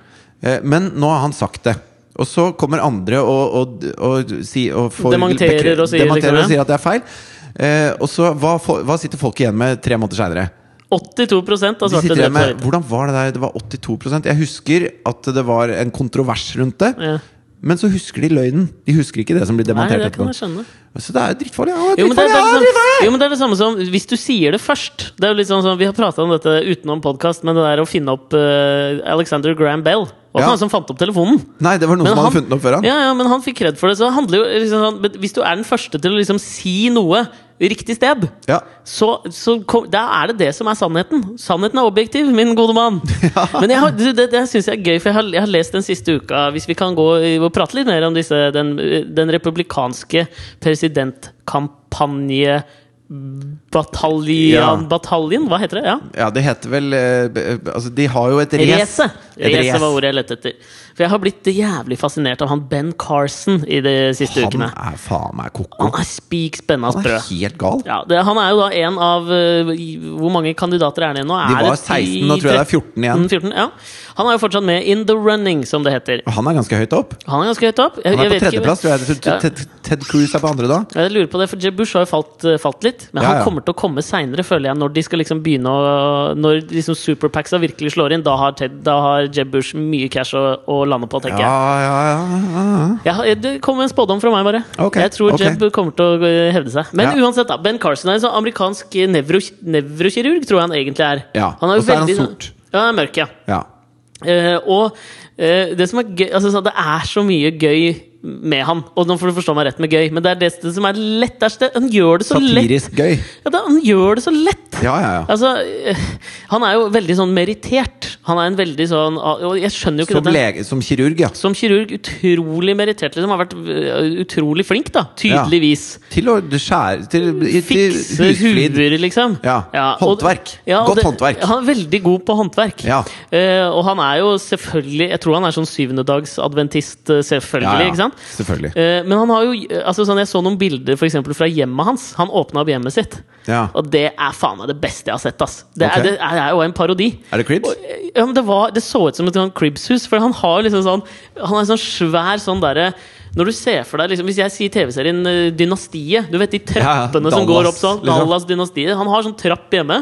[SPEAKER 2] Eh, Men nå har han sagt det. Og så kommer andre og, og, og, si, og får-
[SPEAKER 1] Dementerer og sier
[SPEAKER 2] dementerer
[SPEAKER 1] liksom det.
[SPEAKER 2] og sier at det er feil. Eh, og så hva, fo- hva sitter folk igjen med tre måneder seinere?
[SPEAKER 1] 82 av svarte
[SPEAKER 2] De
[SPEAKER 1] drepes
[SPEAKER 2] sitter igjen
[SPEAKER 1] av
[SPEAKER 2] med
[SPEAKER 1] hvite.
[SPEAKER 2] Hvordan var det der? Det var 82 Jeg husker at det var en kontrovers rundt det.
[SPEAKER 1] Ja.
[SPEAKER 2] Men så husker de løgnen. De husker ikke det som blir
[SPEAKER 1] Nei,
[SPEAKER 2] demontert
[SPEAKER 1] det kan jeg
[SPEAKER 2] etterpå.
[SPEAKER 1] skjønne.
[SPEAKER 2] Så det er jo drittfarlig. Ja,
[SPEAKER 1] Jo men, det er,
[SPEAKER 2] drittfarlig, ja,
[SPEAKER 1] sånn- det er det
[SPEAKER 2] drittfarlig!
[SPEAKER 1] samme, jo, men det er det samme som hvis du sier det først. Det er jo litt sånn som, Vi har prata om dette utenom podkast, men det der å finne opp eh, Alexander Graham Bell
[SPEAKER 2] Ja.
[SPEAKER 1] Hva var han som fant opp telefonen?
[SPEAKER 2] Nei, det var noen
[SPEAKER 1] Men
[SPEAKER 2] som hadde
[SPEAKER 1] han-
[SPEAKER 2] funnet den opp før han.
[SPEAKER 1] Ja, ja, men han fikk kred for det. Så det handler jo liksom sånn, men Hvis du er den første til å liksom si noe riktig sted,
[SPEAKER 2] Ja.
[SPEAKER 1] så, så kom, da er det det som er sannheten. Sannheten er objektiv, min gode mann. Men jeg har, du, det, det syns jeg er gøy, for jeg har, jeg har lest den siste uka Hvis vi kan gå i- og prate litt mer om disse, den, den republikanske presidentkampanje...
[SPEAKER 2] Ja.
[SPEAKER 1] Bataljan Bataljen, hva heter det? Ja.
[SPEAKER 2] Ja, det heter vel eh, b- eh, Altså, de har jo et race.
[SPEAKER 1] Race!
[SPEAKER 2] Et
[SPEAKER 1] Race
[SPEAKER 2] race.
[SPEAKER 1] var ordet jeg lette etter. For jeg har blitt jævlig fascinert av han Ben Carson i de siste
[SPEAKER 2] Han
[SPEAKER 1] ukene.
[SPEAKER 2] er faen meg koko.
[SPEAKER 1] Han er spik spennende
[SPEAKER 2] Han
[SPEAKER 1] sprø.
[SPEAKER 2] er helt gal.
[SPEAKER 1] Ja, det, han er jo da en av øh, i- Hvor mange kandidater er det nå?
[SPEAKER 2] De
[SPEAKER 1] Er
[SPEAKER 2] var
[SPEAKER 1] det
[SPEAKER 2] 16, nå tror jeg det er 14 igjen.
[SPEAKER 1] 14, ja. Han er jo fortsatt med in the running, som det heter.
[SPEAKER 2] Han er ganske høyt opp.
[SPEAKER 1] Han er ganske høyt opp. Jeg,
[SPEAKER 2] Han er
[SPEAKER 1] jeg
[SPEAKER 2] på
[SPEAKER 1] vet ikke-
[SPEAKER 2] tredjeplass, tror jeg. Jeg
[SPEAKER 1] Ja.
[SPEAKER 2] tror Ted, Ted Cruz er på andre da.
[SPEAKER 1] Jeg lurer på det, for Jeb Bush har jo falt, eh, falt litt. Men
[SPEAKER 2] Ja,
[SPEAKER 1] han
[SPEAKER 2] ja.
[SPEAKER 1] kommer til å komme seinere, føler jeg, når de skal liksom begynne å Når liksom superpacksa virkelig slår inn. Da har, Ted, da har Jeb Bush mye cash å, å lande på, tenker
[SPEAKER 2] Ja, ja, ja, ja, ja.
[SPEAKER 1] jeg. jeg. har- Det kom en spådom fra meg, bare.
[SPEAKER 2] Ok,
[SPEAKER 1] Jeg tror
[SPEAKER 2] ok.
[SPEAKER 1] Jeb kommer til å eh, hevde seg. Men
[SPEAKER 2] Ja.
[SPEAKER 1] uansett, da. Ben Carson er en sånn amerikansk nevro, nevrokirurg, tror jeg han egentlig er.
[SPEAKER 2] Ja,
[SPEAKER 1] Han er jo
[SPEAKER 2] og så er han
[SPEAKER 1] veldig- sånn-
[SPEAKER 2] sort.
[SPEAKER 1] Ja, han er mørk, ja.
[SPEAKER 2] ja.
[SPEAKER 1] Eh, og eh, det som er gøy altså, sånn, Det er så mye gøy med han. Og nå får du forstå meg rett med gøy, men det er det, det som er lettest. Han gjør det så lett.
[SPEAKER 2] Satirisk gøy.
[SPEAKER 1] Ja, da, han gjør det så lett!
[SPEAKER 2] Ja, ja, ja.
[SPEAKER 1] Altså, eh, han er jo veldig sånn merittert. Han er en veldig sånn Og jeg skjønner jo ikke
[SPEAKER 2] Som,
[SPEAKER 1] dette.
[SPEAKER 2] lege, som kirurg, ja.
[SPEAKER 1] Som kirurg utrolig merittert. Liksom, har vært eh, utrolig flink, da.
[SPEAKER 2] Ja.
[SPEAKER 1] Tydeligvis.
[SPEAKER 2] Til å skjære Til, i- til
[SPEAKER 1] Fikse
[SPEAKER 2] husflid.
[SPEAKER 1] huer, liksom.
[SPEAKER 2] Ja.
[SPEAKER 1] og-
[SPEAKER 2] Håndverk.
[SPEAKER 1] og
[SPEAKER 2] Godt
[SPEAKER 1] det-
[SPEAKER 2] håndverk.
[SPEAKER 1] Han er veldig god på håndverk.
[SPEAKER 2] Ja.
[SPEAKER 1] Eh, og han er jo selvfølgelig Jeg tror han er sånn syvendedagsadventist, eh, selvfølgelig.
[SPEAKER 2] Ja, ja.
[SPEAKER 1] ikke sant?
[SPEAKER 2] Selvfølgelig.
[SPEAKER 1] Eh, men han har jo eh, altså, sånn, Jeg så noen bilder for eksempel, fra hjemmet hans. Han åpna opp hjemmet sitt.
[SPEAKER 2] Ja.
[SPEAKER 1] Og det er faen meg det beste jeg har sett. Ass. Det,
[SPEAKER 2] Ok.
[SPEAKER 1] er, det er jo en parodi.
[SPEAKER 2] Er det Cribs?
[SPEAKER 1] Og, eh, ja, men det, var, det så ut som et sånn Cribs-hus, for han har liksom sånn Han er sånn svær sånn derre når du ser for deg, liksom, Hvis jeg sier TV-serien eh, Dynastiet Du vet de
[SPEAKER 2] Ja, ja,
[SPEAKER 1] trappene som
[SPEAKER 2] Dallas,
[SPEAKER 1] går opp sånn?
[SPEAKER 2] liksom.
[SPEAKER 1] Dallas Dynastiet. Han har sånn trapp hjemme.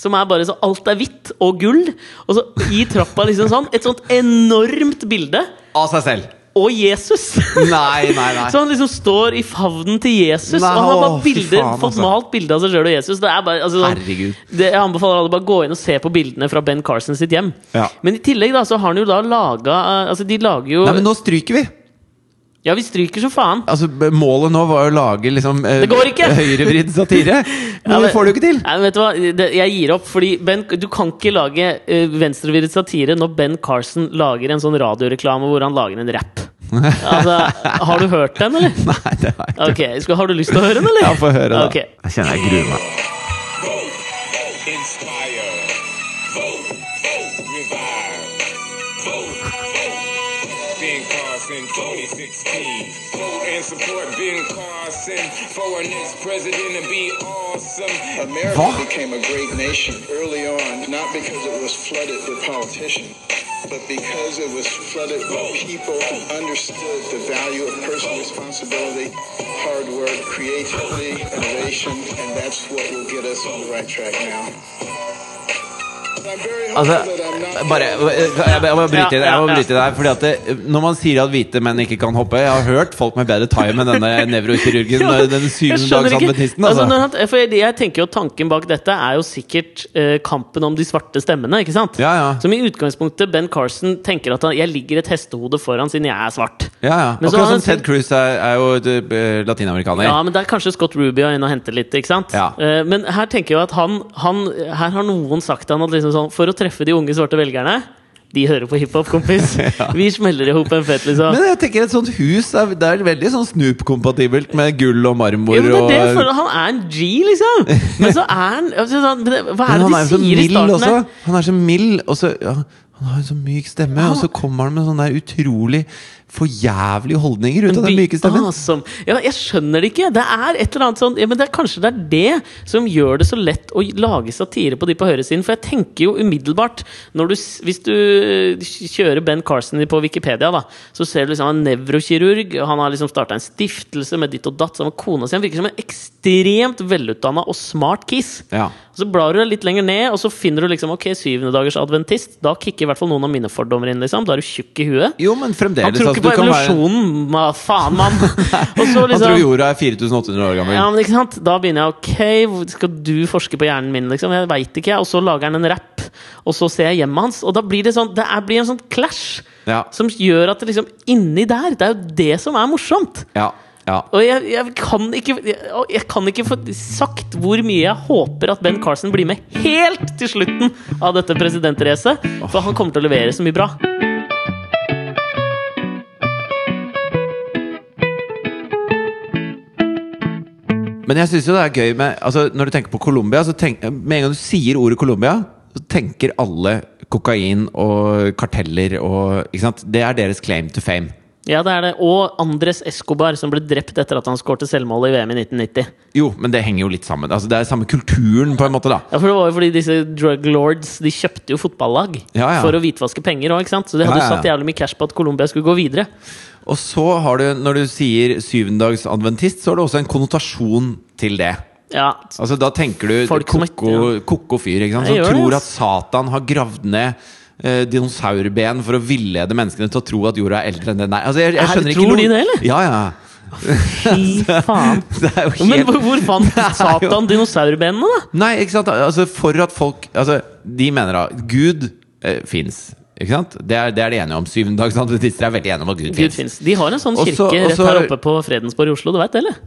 [SPEAKER 1] Som er bare så Alt er hvitt og gull. Og så i trappa liksom sånn. Et sånt enormt bilde.
[SPEAKER 2] Av seg selv.
[SPEAKER 1] Og Jesus!
[SPEAKER 2] Nei, nei, nei.
[SPEAKER 1] Så han liksom står i favnen til Jesus,
[SPEAKER 2] Nei,
[SPEAKER 1] og han har bare
[SPEAKER 2] å, fy
[SPEAKER 1] bilder,
[SPEAKER 2] faen,
[SPEAKER 1] fått
[SPEAKER 2] altså.
[SPEAKER 1] malt bilde av seg sjøl og Jesus. Det er bare, altså, sånn,
[SPEAKER 2] Herregud.
[SPEAKER 1] Det, jeg anbefaler alle bare gå inn og se på bildene fra Ben Carson sitt hjem.
[SPEAKER 2] Ja.
[SPEAKER 1] Men i tillegg da, så har han jo da laga Altså, de lager jo
[SPEAKER 2] Nei, men nå stryker vi.
[SPEAKER 1] Ja, vi stryker som faen.
[SPEAKER 2] Altså, b- Målet nå var jo å lage liksom eh,
[SPEAKER 1] Det går ikke!
[SPEAKER 2] høyrevridd satire. Men
[SPEAKER 1] Ja, men-
[SPEAKER 2] det får du ikke til.
[SPEAKER 1] Nei, men vet du hva? Det, jeg gir opp, fordi ben, du kan ikke lage uh, venstrevirret satire når Ben Carson lager en sånn radioreklame hvor han lager en rapp. Altså, har du hørt den, eller?
[SPEAKER 2] Nei, det er ikke
[SPEAKER 1] Ok, skal, Har du lyst til å høre den, eller?
[SPEAKER 2] Ja, få høre, da.
[SPEAKER 1] Ok.
[SPEAKER 2] Jeg kjenner jeg gruer meg.
[SPEAKER 3] Vote, vote, inspire. Vote, vote, revive. Vote, vote. Ben Carson 2016. Vote and support Ben Carson for our next president to be awesome.
[SPEAKER 4] America
[SPEAKER 2] What?
[SPEAKER 4] became a great nation early on, not because it was flooded with politicians, but because it was flooded with people who understood the value of personal responsibility, hard work, creativity, innovation, and that's what will get us on the right track now. I'm very hopeful that I'm not.
[SPEAKER 2] Altså, bare, jeg, jeg, jeg må bryte inn. Jeg må
[SPEAKER 1] Ja, ja,
[SPEAKER 2] bryte inn der, fordi at det, Når man sier at hvite menn ikke kan hoppe Jeg har hørt folk med bedre time enn denne nevrokirurgen.
[SPEAKER 1] Ja,
[SPEAKER 2] eh, Den
[SPEAKER 1] jeg
[SPEAKER 2] syvende
[SPEAKER 1] skjønner
[SPEAKER 2] dags
[SPEAKER 1] ikke.
[SPEAKER 2] adventisten. Altså.
[SPEAKER 1] Altså, når han- for jeg, jeg tenker jo at Tanken bak dette er jo sikkert eh, kampen om de svarte stemmene. ikke sant?
[SPEAKER 2] Ja, ja.
[SPEAKER 1] Som i utgangspunktet Ben Carson tenker at han, jeg ligger et hestehode foran siden jeg er svart.
[SPEAKER 2] Ja, ja.
[SPEAKER 1] Men
[SPEAKER 2] Akkurat
[SPEAKER 1] så har han
[SPEAKER 2] som Ted
[SPEAKER 1] selv-
[SPEAKER 2] Cruz er, er jo eh, latinamerikaner.
[SPEAKER 1] Ja, men der er kanskje Scott Rubio inn og henter litt. ikke sant?
[SPEAKER 2] Ja.
[SPEAKER 1] Eh, men her tenker jeg jo at han, han, her har noen sagt til han at liksom sånn, for å treffe de unge svarte velgerne De hører på hiphop, kompis. Vi smeller i hop en fett, liksom.
[SPEAKER 2] Men jeg tenker et sånt hus er, det er veldig sånn Snoop-kompatibelt med gull og marmor.
[SPEAKER 1] Ja, men det er det, jeg
[SPEAKER 2] og,
[SPEAKER 1] føler, han er en G, liksom! Men så er han altså, sånn, men det- Hva
[SPEAKER 2] Men
[SPEAKER 1] er
[SPEAKER 2] han
[SPEAKER 1] det de
[SPEAKER 2] er jo så
[SPEAKER 1] sier i
[SPEAKER 2] mild
[SPEAKER 1] starten?
[SPEAKER 2] også.
[SPEAKER 1] her?
[SPEAKER 2] Han er så mild, og så ja, Han har en så myk stemme, og så kommer han med sånne der utrolig forjævlige holdninger ut av den
[SPEAKER 1] By-
[SPEAKER 2] myke stemmen.
[SPEAKER 1] Ah, som, ja, jeg skjønner det ikke! Det er et eller annet sånn ja, men det er, Kanskje det er det som gjør det så lett å lage satire på de på høyresiden? For jeg tenker jo umiddelbart når du, s- Hvis du øh, kjører Ben Carson på Wikipedia, da så ser du liksom han er nevrokirurg, han har liksom starta en stiftelse med ditt og datt sammen med kona si. Han virker som en ekstremt velutdanna og smart kiss.
[SPEAKER 2] Ja.
[SPEAKER 1] Så blar du deg litt lenger ned, og så finner du liksom Ok, syvende dagers adventist. Da kicker i hvert fall noen av mine fordommer inn. liksom Da er du tjukk i huet.
[SPEAKER 2] Jo, men fremdeles.
[SPEAKER 1] Han
[SPEAKER 2] altså,
[SPEAKER 1] tror ikke på
[SPEAKER 2] du kan være-
[SPEAKER 1] evolusjonen, ma faen, mann! Og så
[SPEAKER 2] Han tror
[SPEAKER 1] liksom
[SPEAKER 2] jorda er 4800 år gammel.
[SPEAKER 1] ja, men ikke sant? Da begynner jeg Ok, hvor- skal du forske på hjernen min? liksom? Jeg veit ikke. Og så lager han en rapp, og så ser jeg hjemmet hans. Og da blir det sånn Det er, blir en sånn clash
[SPEAKER 2] Ja.
[SPEAKER 1] som gjør at det liksom inni der Det er jo det som er morsomt.
[SPEAKER 2] Ja, ja.
[SPEAKER 1] Og jeg, jeg, kan ikke, jeg, og jeg kan ikke få sagt hvor mye jeg håper at Ben Carson blir med helt til slutten av dette presidentracet. For han kommer til å levere så mye bra.
[SPEAKER 2] Men jeg syns jo det er gøy med altså, Når du tenker på Colombia, så tenk, med en gang du sier ordet Colombia, så tenker alle kokain og karteller og Ikke sant? Det er deres claim to fame.
[SPEAKER 1] Ja, det er det. Og Andres Escobar, som ble drept etter at han skårte selvmål i VM i 1990.
[SPEAKER 2] Jo, men det henger jo litt sammen. Altså, det er samme kulturen, på en måte, da.
[SPEAKER 1] Ja, for det var jo fordi disse drug lords De kjøpte jo fotballag
[SPEAKER 2] Ja, ja.
[SPEAKER 1] for å hvitvaske penger òg, ikke sant? Så de
[SPEAKER 2] Ja,
[SPEAKER 1] hadde jo
[SPEAKER 2] ja, ja.
[SPEAKER 1] satt jævlig mye cash på at Colombia skulle gå videre.
[SPEAKER 2] Og så har du, når du sier syvendagsadventist, så har du også en konnotasjon til det.
[SPEAKER 1] Ja,
[SPEAKER 2] Altså Da tenker du
[SPEAKER 1] Folk som er-
[SPEAKER 2] koko, koko fyr, ikke sant? Som
[SPEAKER 1] Jeg gjør det,
[SPEAKER 2] tror at
[SPEAKER 1] ass.
[SPEAKER 2] Satan har gravd ned eh, dinosaurben for å villede menneskene til å tro at jorda er eldre enn den er. Altså, jeg, jeg
[SPEAKER 1] Er det-
[SPEAKER 2] skjønner
[SPEAKER 1] tror
[SPEAKER 2] ikke
[SPEAKER 1] de det, eller?
[SPEAKER 2] Ja, ja.
[SPEAKER 1] fy faen.
[SPEAKER 2] Det er jo helt
[SPEAKER 1] Men hvor, hvor fant
[SPEAKER 2] er jo-
[SPEAKER 1] Satan dinosaurbenene, da?
[SPEAKER 2] Nei, ikke sant? Altså, for at folk altså, De mener da Gud eh, fins. Ikke sant? Det er, det er de enige om. Syvendagsadventister er veldig enige om at Gud
[SPEAKER 1] Gud
[SPEAKER 2] fins.
[SPEAKER 1] finnes. De har en sånn
[SPEAKER 2] Og
[SPEAKER 1] kirke
[SPEAKER 2] så- og
[SPEAKER 1] rett
[SPEAKER 2] så
[SPEAKER 1] her
[SPEAKER 2] har-
[SPEAKER 1] oppe på Fredensborg i Oslo, du veit det, eller?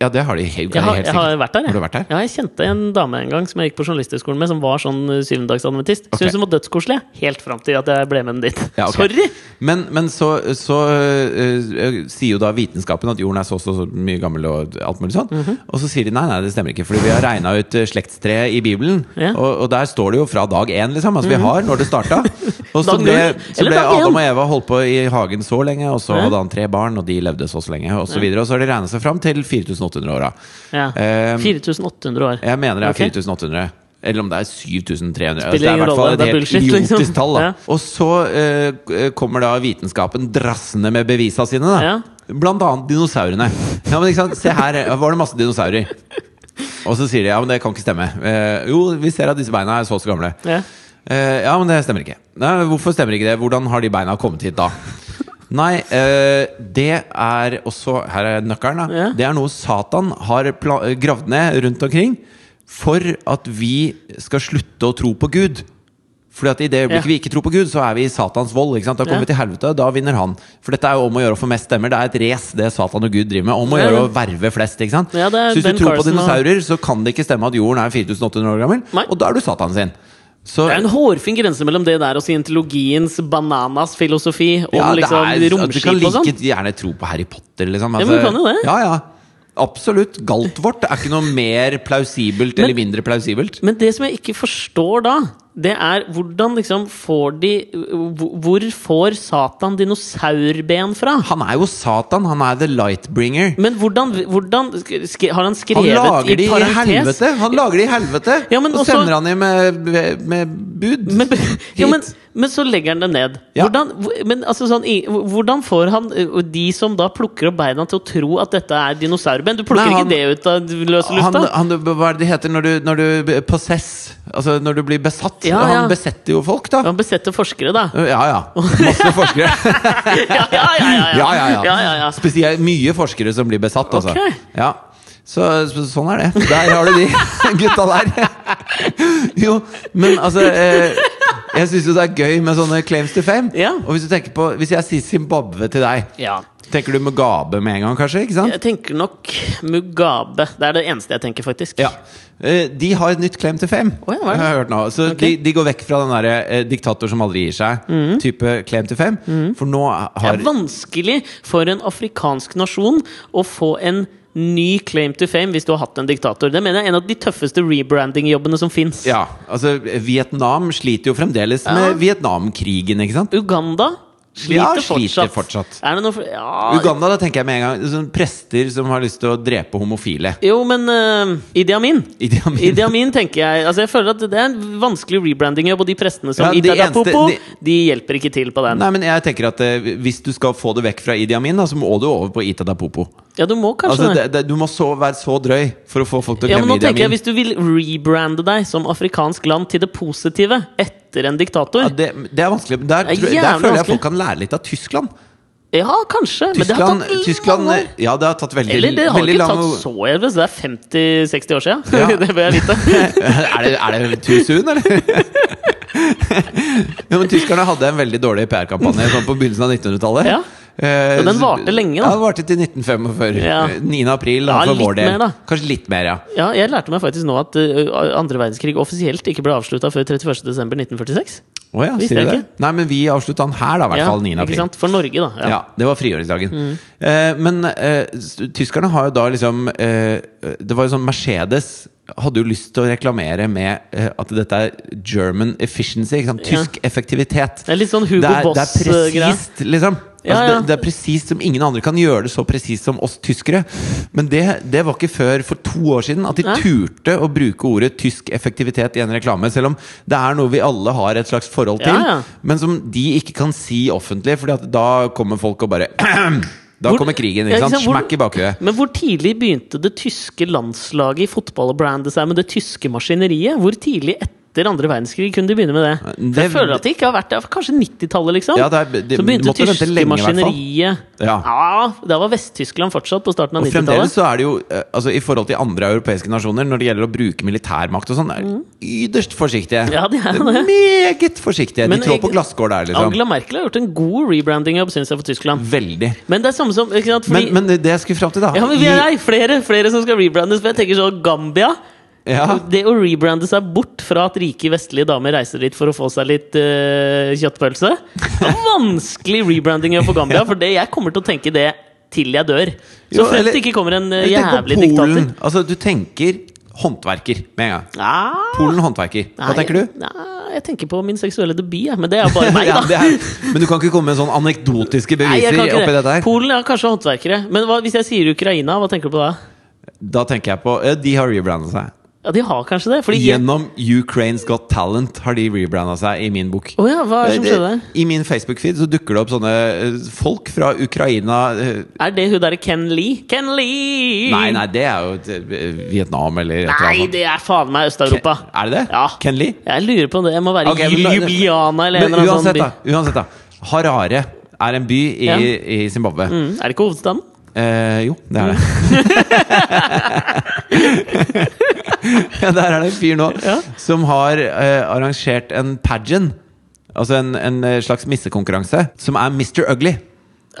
[SPEAKER 2] Ja, det har de helt,
[SPEAKER 1] Jeg har,
[SPEAKER 2] helt
[SPEAKER 1] jeg har vært der, jeg.
[SPEAKER 2] Har du vært der?
[SPEAKER 1] Ja, jeg kjente en dame en gang som jeg gikk på journalisthøgskolen med, som var sånn eh, syvendagsadventist.
[SPEAKER 2] Ok.
[SPEAKER 1] Syntes hun var dødskoselig, jeg. helt fram til at jeg ble med den dit.
[SPEAKER 2] Ja, ok.
[SPEAKER 1] Sorry!
[SPEAKER 2] Men, men så, så øh, øh, sier jo da vitenskapen at jorden er så så, så mye gammel og alt mulig sånn.
[SPEAKER 1] Mhm.
[SPEAKER 2] Og så sier de nei, nei, det stemmer ikke, fordi vi har regna ut øh, slektstreet i Bibelen.
[SPEAKER 1] Ja. Mhm.
[SPEAKER 2] Og, og der står det jo fra dag én, liksom. Altså vi har når det starta. Og så
[SPEAKER 1] Dag
[SPEAKER 2] ble,
[SPEAKER 1] null,
[SPEAKER 2] så
[SPEAKER 1] eller
[SPEAKER 2] ble
[SPEAKER 1] dag én.
[SPEAKER 2] Adam og Eva holdt på i hagen så lenge, og så
[SPEAKER 1] Ja.
[SPEAKER 2] hadde han tre barn, og de levde så så lenge, og så videre. Og så har de regna seg fram til 4800-åra.
[SPEAKER 1] Ja.
[SPEAKER 2] Eh,
[SPEAKER 1] 4800 år.
[SPEAKER 2] Jeg mener det er
[SPEAKER 1] Ok.
[SPEAKER 2] 4800. Eller om det er 7300. Altså, det er i
[SPEAKER 1] Spiller ingen
[SPEAKER 2] hvert fall
[SPEAKER 1] rolle,
[SPEAKER 2] et
[SPEAKER 1] det er
[SPEAKER 2] helt
[SPEAKER 1] bullshit,
[SPEAKER 2] idiotisk
[SPEAKER 1] liksom.
[SPEAKER 2] tall. Da.
[SPEAKER 1] Ja.
[SPEAKER 2] Og så eh, k- kommer da vitenskapen drassende med bevisa sine. Da.
[SPEAKER 1] Ja.
[SPEAKER 2] Blant annet dinosaurene. Ja, men ikke sant? Se her, eh, var det masse dinosaurer. Og så sier de ja, men det kan ikke stemme. Eh, jo, vi ser at disse beina er så og så gamle.
[SPEAKER 1] Ja.
[SPEAKER 2] Eh, ja, men det stemmer ikke. Nei, hvorfor stemmer ikke det? Hvordan har de beina kommet hit da? Nei, eh, det er også Her er nøkkelen, da.
[SPEAKER 1] Ja.
[SPEAKER 2] Det er noe Satan har pla gravd ned rundt omkring for at vi skal slutte å tro på Gud. Fordi at i det øyeblikket
[SPEAKER 1] Ja.
[SPEAKER 2] vi ikke tror på Gud, så er vi i Satans vold. ikke sant? Da kommer vi
[SPEAKER 1] Ja.
[SPEAKER 2] til helvete, da vinner han. For dette er jo om å gjøre å få mest stemmer. Det er et race, det Satan og Gud driver med. Om å
[SPEAKER 1] Ja,
[SPEAKER 2] gjøre
[SPEAKER 1] ja.
[SPEAKER 2] å verve flest, ikke sant.
[SPEAKER 1] Ja, det er
[SPEAKER 2] så hvis
[SPEAKER 1] Ben
[SPEAKER 2] du tror på
[SPEAKER 1] Carson og-
[SPEAKER 2] dinosaurer, så kan det ikke stemme at jorden er 4800 år gammel.
[SPEAKER 1] Nei.
[SPEAKER 2] Og da er du Satan sin. Så,
[SPEAKER 1] Det er en hårfin grense mellom det der og scientologiens bananas filosofi om
[SPEAKER 2] Ja, det
[SPEAKER 1] liksom
[SPEAKER 2] er- Du kan
[SPEAKER 1] romskip og sånn.
[SPEAKER 2] like gjerne tro på Harry Potter, liksom.
[SPEAKER 1] Ja, men du kan jo det.
[SPEAKER 2] Ja, ja. Absolutt. Galtvort er ikke noe mer plausibelt eller mindre plausibelt.
[SPEAKER 1] Men det som jeg ikke forstår da, det er hvordan liksom får de hvor- Hvor får Satan dinosaurben fra?
[SPEAKER 2] Han er jo Satan. Han er the lightbringer.
[SPEAKER 1] Men hvordan, hvordan sk- sk- Har han
[SPEAKER 2] Han
[SPEAKER 1] skrevet
[SPEAKER 2] lager de
[SPEAKER 1] i
[SPEAKER 2] i
[SPEAKER 1] parentes?
[SPEAKER 2] helvete! Han lager de i helvete
[SPEAKER 1] Ja, men
[SPEAKER 2] Og
[SPEAKER 1] også-
[SPEAKER 2] sender han de med, med bud.
[SPEAKER 1] Men, ja, men,
[SPEAKER 2] Hit.
[SPEAKER 1] men så legger han det ned.
[SPEAKER 2] Ja.
[SPEAKER 1] Hvordan, hvor- men, altså, sånn, i- hvordan får han ø, de som da plukker opp beina, til å tro at dette er dinosaurben? Du plukker
[SPEAKER 2] Nei, han-
[SPEAKER 1] ikke det ut av løse
[SPEAKER 2] han,
[SPEAKER 1] lufta?
[SPEAKER 2] han, hva er det det heter når du, når du possess? Altså når du blir besatt?
[SPEAKER 1] Ja, ja.
[SPEAKER 2] Han besetter jo folk, da.
[SPEAKER 1] Han besetter forskere, da.
[SPEAKER 2] Eh, Ja ja. Masse forskere.
[SPEAKER 1] Ja, ja, ja! ja,
[SPEAKER 2] ja, ja, ja.
[SPEAKER 1] ja, ja, ja.
[SPEAKER 2] Spesielt mye forskere som blir besatt, altså.
[SPEAKER 1] Ok.
[SPEAKER 2] Ja. Så, så sånn er det. Der har du de gutta der. Jo, men altså eh, Jeg syns jo det er gøy med sånne claims to fame.
[SPEAKER 1] Ja.
[SPEAKER 2] Og hvis du tenker på Hvis jeg sier Zimbabwe til deg,
[SPEAKER 1] Ja.
[SPEAKER 2] tenker du Mugabe med en gang, kanskje? ikke sant?
[SPEAKER 1] Jeg tenker nok Mugabe. Det er det eneste jeg tenker, faktisk.
[SPEAKER 2] Ja. Eh, De har et nytt claim to fame.
[SPEAKER 1] Å ja, hva er det?
[SPEAKER 2] har jeg hørt nå. Så
[SPEAKER 1] Ok.
[SPEAKER 2] de, de går vekk fra den derre eh, diktator som aldri gir seg, type claim to fame. For nå
[SPEAKER 1] Mm. Det
[SPEAKER 2] har
[SPEAKER 1] er vanskelig for en afrikansk nasjon å få en ny claim to fame hvis du har hatt en diktator. Det mener jeg er en av de tøffeste rebranding-jobbene som fins.
[SPEAKER 2] ja, altså Vietnam sliter jo fremdeles
[SPEAKER 1] Ja.
[SPEAKER 2] med Vietnamkrigen, ikke sant?
[SPEAKER 1] Uganda
[SPEAKER 2] Ja,
[SPEAKER 1] sliter,
[SPEAKER 2] sliter
[SPEAKER 1] fortsatt.
[SPEAKER 2] fortsatt.
[SPEAKER 1] Er det noe for, ja,
[SPEAKER 2] Uganda, da tenker jeg med en gang sånn Prester som har lyst til å drepe homofile.
[SPEAKER 1] Jo, men uh, Idi Amin.
[SPEAKER 2] Idi Amin.
[SPEAKER 1] Idi Amin, tenker jeg. Altså, jeg føler at Det er en vanskelig rebranding-jobb, og de prestene som
[SPEAKER 2] Ja, de
[SPEAKER 1] Ida Dapopo,
[SPEAKER 2] eneste-
[SPEAKER 1] de, hjelper ikke til på den.
[SPEAKER 2] Nei, men jeg tenker at eh, Hvis du skal få det vekk fra Idi Amin, da, så må du over på Ita da Popo.
[SPEAKER 1] Ja, du må kanskje
[SPEAKER 2] Altså,
[SPEAKER 1] det.
[SPEAKER 2] det, det, du må så, være så drøy for å få folk til å
[SPEAKER 1] Ja, men
[SPEAKER 2] glemme
[SPEAKER 1] nå
[SPEAKER 2] Idi
[SPEAKER 1] tenker jeg
[SPEAKER 2] Amin.
[SPEAKER 1] Hvis du vil rebrande deg som afrikansk land til det positive etter en diktator
[SPEAKER 2] Ja, det, det er vanskelig. men Der,
[SPEAKER 1] Det er
[SPEAKER 2] tror jeg- der
[SPEAKER 1] jævlig
[SPEAKER 2] føler jeg
[SPEAKER 1] vanskelig.
[SPEAKER 2] folk kan lære litt av Tyskland.
[SPEAKER 1] Ja, kanskje. Men det har
[SPEAKER 2] Tyskland,
[SPEAKER 1] tatt mange
[SPEAKER 2] Tyskland eh,
[SPEAKER 1] år.
[SPEAKER 2] Ja, det har tatt veldig,
[SPEAKER 1] Eller det har
[SPEAKER 2] veldig
[SPEAKER 1] ikke
[SPEAKER 2] lang
[SPEAKER 1] tatt så jævlig, så det er 50-60 år siden.
[SPEAKER 2] Ja.
[SPEAKER 1] det bør jeg vite.
[SPEAKER 2] er, det, er det too soon, eller? ja, men Tyskerne hadde en veldig dårlig PR-kampanje sånn på begynnelsen av 1900-tallet.
[SPEAKER 1] Ja.
[SPEAKER 2] Eh,
[SPEAKER 1] Og den
[SPEAKER 2] så-
[SPEAKER 1] varte lenge, da.
[SPEAKER 2] Ja, den varte til 1945.
[SPEAKER 1] Ja.
[SPEAKER 2] Eh, 9. april, da,
[SPEAKER 1] Ja,
[SPEAKER 2] for
[SPEAKER 1] litt
[SPEAKER 2] vår del.
[SPEAKER 1] mer, da.
[SPEAKER 2] Kanskje litt mer, ja.
[SPEAKER 1] Ja, jeg lærte meg faktisk nå at ø, andre verdenskrig offisielt ikke ble avslutta før 31.12.1946.
[SPEAKER 2] Å ja,
[SPEAKER 1] Visste
[SPEAKER 2] sier du
[SPEAKER 1] jeg
[SPEAKER 2] det? Nei, men vi avslutta den her, da, i hvert fall 9. april.
[SPEAKER 1] ikke sant? For Norge, da.
[SPEAKER 2] Ja,
[SPEAKER 1] Ja.
[SPEAKER 2] det var frigjøringsdagen. Eh, men eh, s- tyskerne har jo da liksom eh, Det var jo sånn Mercedes hadde jo lyst til å reklamere med eh, at dette er German efficiency. Ikke sant? Tysk effektivitet.
[SPEAKER 1] Det er litt sånn Hugo
[SPEAKER 2] Det er, det
[SPEAKER 1] Boss,
[SPEAKER 2] er
[SPEAKER 1] eh, greia.
[SPEAKER 2] presist, liksom. Altså,
[SPEAKER 1] Ja, ja.
[SPEAKER 2] Det, det er presist som ingen andre kan gjøre det så presist som oss tyskere. Men det, det var ikke før for to år siden at de
[SPEAKER 1] Nei.
[SPEAKER 2] turte å bruke ordet tysk effektivitet i en reklame. Selv om det er noe vi alle har et slags forhold til.
[SPEAKER 1] Ja, ja.
[SPEAKER 2] Men som de ikke kan si offentlig, Fordi at da kommer folk og bare Da
[SPEAKER 1] Hvor-
[SPEAKER 2] kommer krigen,
[SPEAKER 1] Ja,
[SPEAKER 2] ikke sant?
[SPEAKER 1] Hvor-
[SPEAKER 2] Smekk i bakhuet.
[SPEAKER 1] Men hvor tidlig begynte det tyske landslaget i fotball å brande seg med det tyske maskineriet? Hvor tidlig etter andre verdenskrig kunne de begynne med det? For
[SPEAKER 2] Det-
[SPEAKER 1] jeg føler at det ikke har vært det. Kanskje 90-tallet, liksom?
[SPEAKER 2] Ja, det er- de
[SPEAKER 1] så begynte
[SPEAKER 2] måtte
[SPEAKER 1] det
[SPEAKER 2] vente
[SPEAKER 1] tyske
[SPEAKER 2] lenge, i hvert fall.
[SPEAKER 1] maskineriet. Ja.
[SPEAKER 2] Ja.
[SPEAKER 1] Da var Vest-Tyskland fortsatt på starten av
[SPEAKER 2] Og fremdeles
[SPEAKER 1] 90-tallet.
[SPEAKER 2] så er det jo eh, altså, I forhold til andre europeiske nasjoner når det gjelder å bruke militærmakt og sånn, er de ytterst forsiktige.
[SPEAKER 1] Mm. Ja, de er det.
[SPEAKER 2] Meget forsiktige.
[SPEAKER 1] Men
[SPEAKER 2] de trår
[SPEAKER 1] jeg-
[SPEAKER 2] på glasskår der, liksom.
[SPEAKER 1] Angela Merkel har gjort en god rebranding-jobb, syns jeg, for Tyskland.
[SPEAKER 2] Veldig.
[SPEAKER 1] Men det er samme som ikke sant? Fordi,
[SPEAKER 2] Men, men det jeg skulle fram til, da
[SPEAKER 1] Ja, men vi er
[SPEAKER 2] de-
[SPEAKER 1] nei, flere, flere som skal rebrandes. For jeg tenker sånn Gambia.
[SPEAKER 2] Ja.
[SPEAKER 1] Det å rebrande seg bort fra at rike vestlige damer reiser dit for å få seg litt eh, kjøttpølse Det er Vanskelig rebranding å gjøre for Gambia, for det, jeg kommer til å tenke det til jeg dør. Så
[SPEAKER 2] Jo,
[SPEAKER 1] fremt
[SPEAKER 2] eller-
[SPEAKER 1] det ikke kommer en eh,
[SPEAKER 2] eller tenk på
[SPEAKER 1] jævlig
[SPEAKER 2] Polen.
[SPEAKER 1] diktator.
[SPEAKER 2] Altså, du tenker håndverker med en gang.
[SPEAKER 1] Ah,
[SPEAKER 2] Polen håndverker. Hva
[SPEAKER 1] nei,
[SPEAKER 2] tenker du?
[SPEAKER 1] Nei, jeg tenker på min seksuelle debut, jeg. Men det er jo bare meg, da.
[SPEAKER 2] Ja, det er, men du kan ikke komme med sånne anekdotiske
[SPEAKER 1] Nei,
[SPEAKER 2] beviser
[SPEAKER 1] jeg kan ikke
[SPEAKER 2] oppi
[SPEAKER 1] det.
[SPEAKER 2] dette her?
[SPEAKER 1] Polen er kanskje håndverkere. Men hva, hvis jeg sier Ukraina, hva tenker du på da?
[SPEAKER 2] Da tenker jeg på eh, De har rebrandet seg.
[SPEAKER 1] Ja, de har kanskje det. Fordi
[SPEAKER 2] Gjennom Ukraine's Got Talent har de rebranda seg i min bok.
[SPEAKER 1] Å ja, hva er det som
[SPEAKER 2] Eh,
[SPEAKER 1] skjedde der?
[SPEAKER 2] I min Facebook-feed så dukker det opp sånne eh, folk fra Ukraina eh,
[SPEAKER 1] Er det hun derre Ken Lee? Ken Lee!
[SPEAKER 2] Nei, nei, det er jo eh, Vietnam eller et eller
[SPEAKER 1] Nei,
[SPEAKER 2] annet.
[SPEAKER 1] det er faen meg Øst-Europa.
[SPEAKER 2] Er det det?
[SPEAKER 1] Ja.
[SPEAKER 2] Ken Lee?
[SPEAKER 1] Jeg lurer på om det. Jeg må være
[SPEAKER 2] Ok,
[SPEAKER 1] i
[SPEAKER 2] men da-
[SPEAKER 1] Ljubljana eller en
[SPEAKER 2] Men
[SPEAKER 1] eller annen sånn
[SPEAKER 2] uansett,
[SPEAKER 1] by.
[SPEAKER 2] da. Uansett, da. Harare er en by i,
[SPEAKER 1] Ja.
[SPEAKER 2] i Zimbabwe.
[SPEAKER 1] Mm, er det ikke hovedstaden?
[SPEAKER 2] Eh, jo, det er det. ja, der er det en fyr nå
[SPEAKER 1] Ja.
[SPEAKER 2] som har eh, arrangert en pageant. Altså en, en eh, slags missekonkurranse som er Mr. Ugly.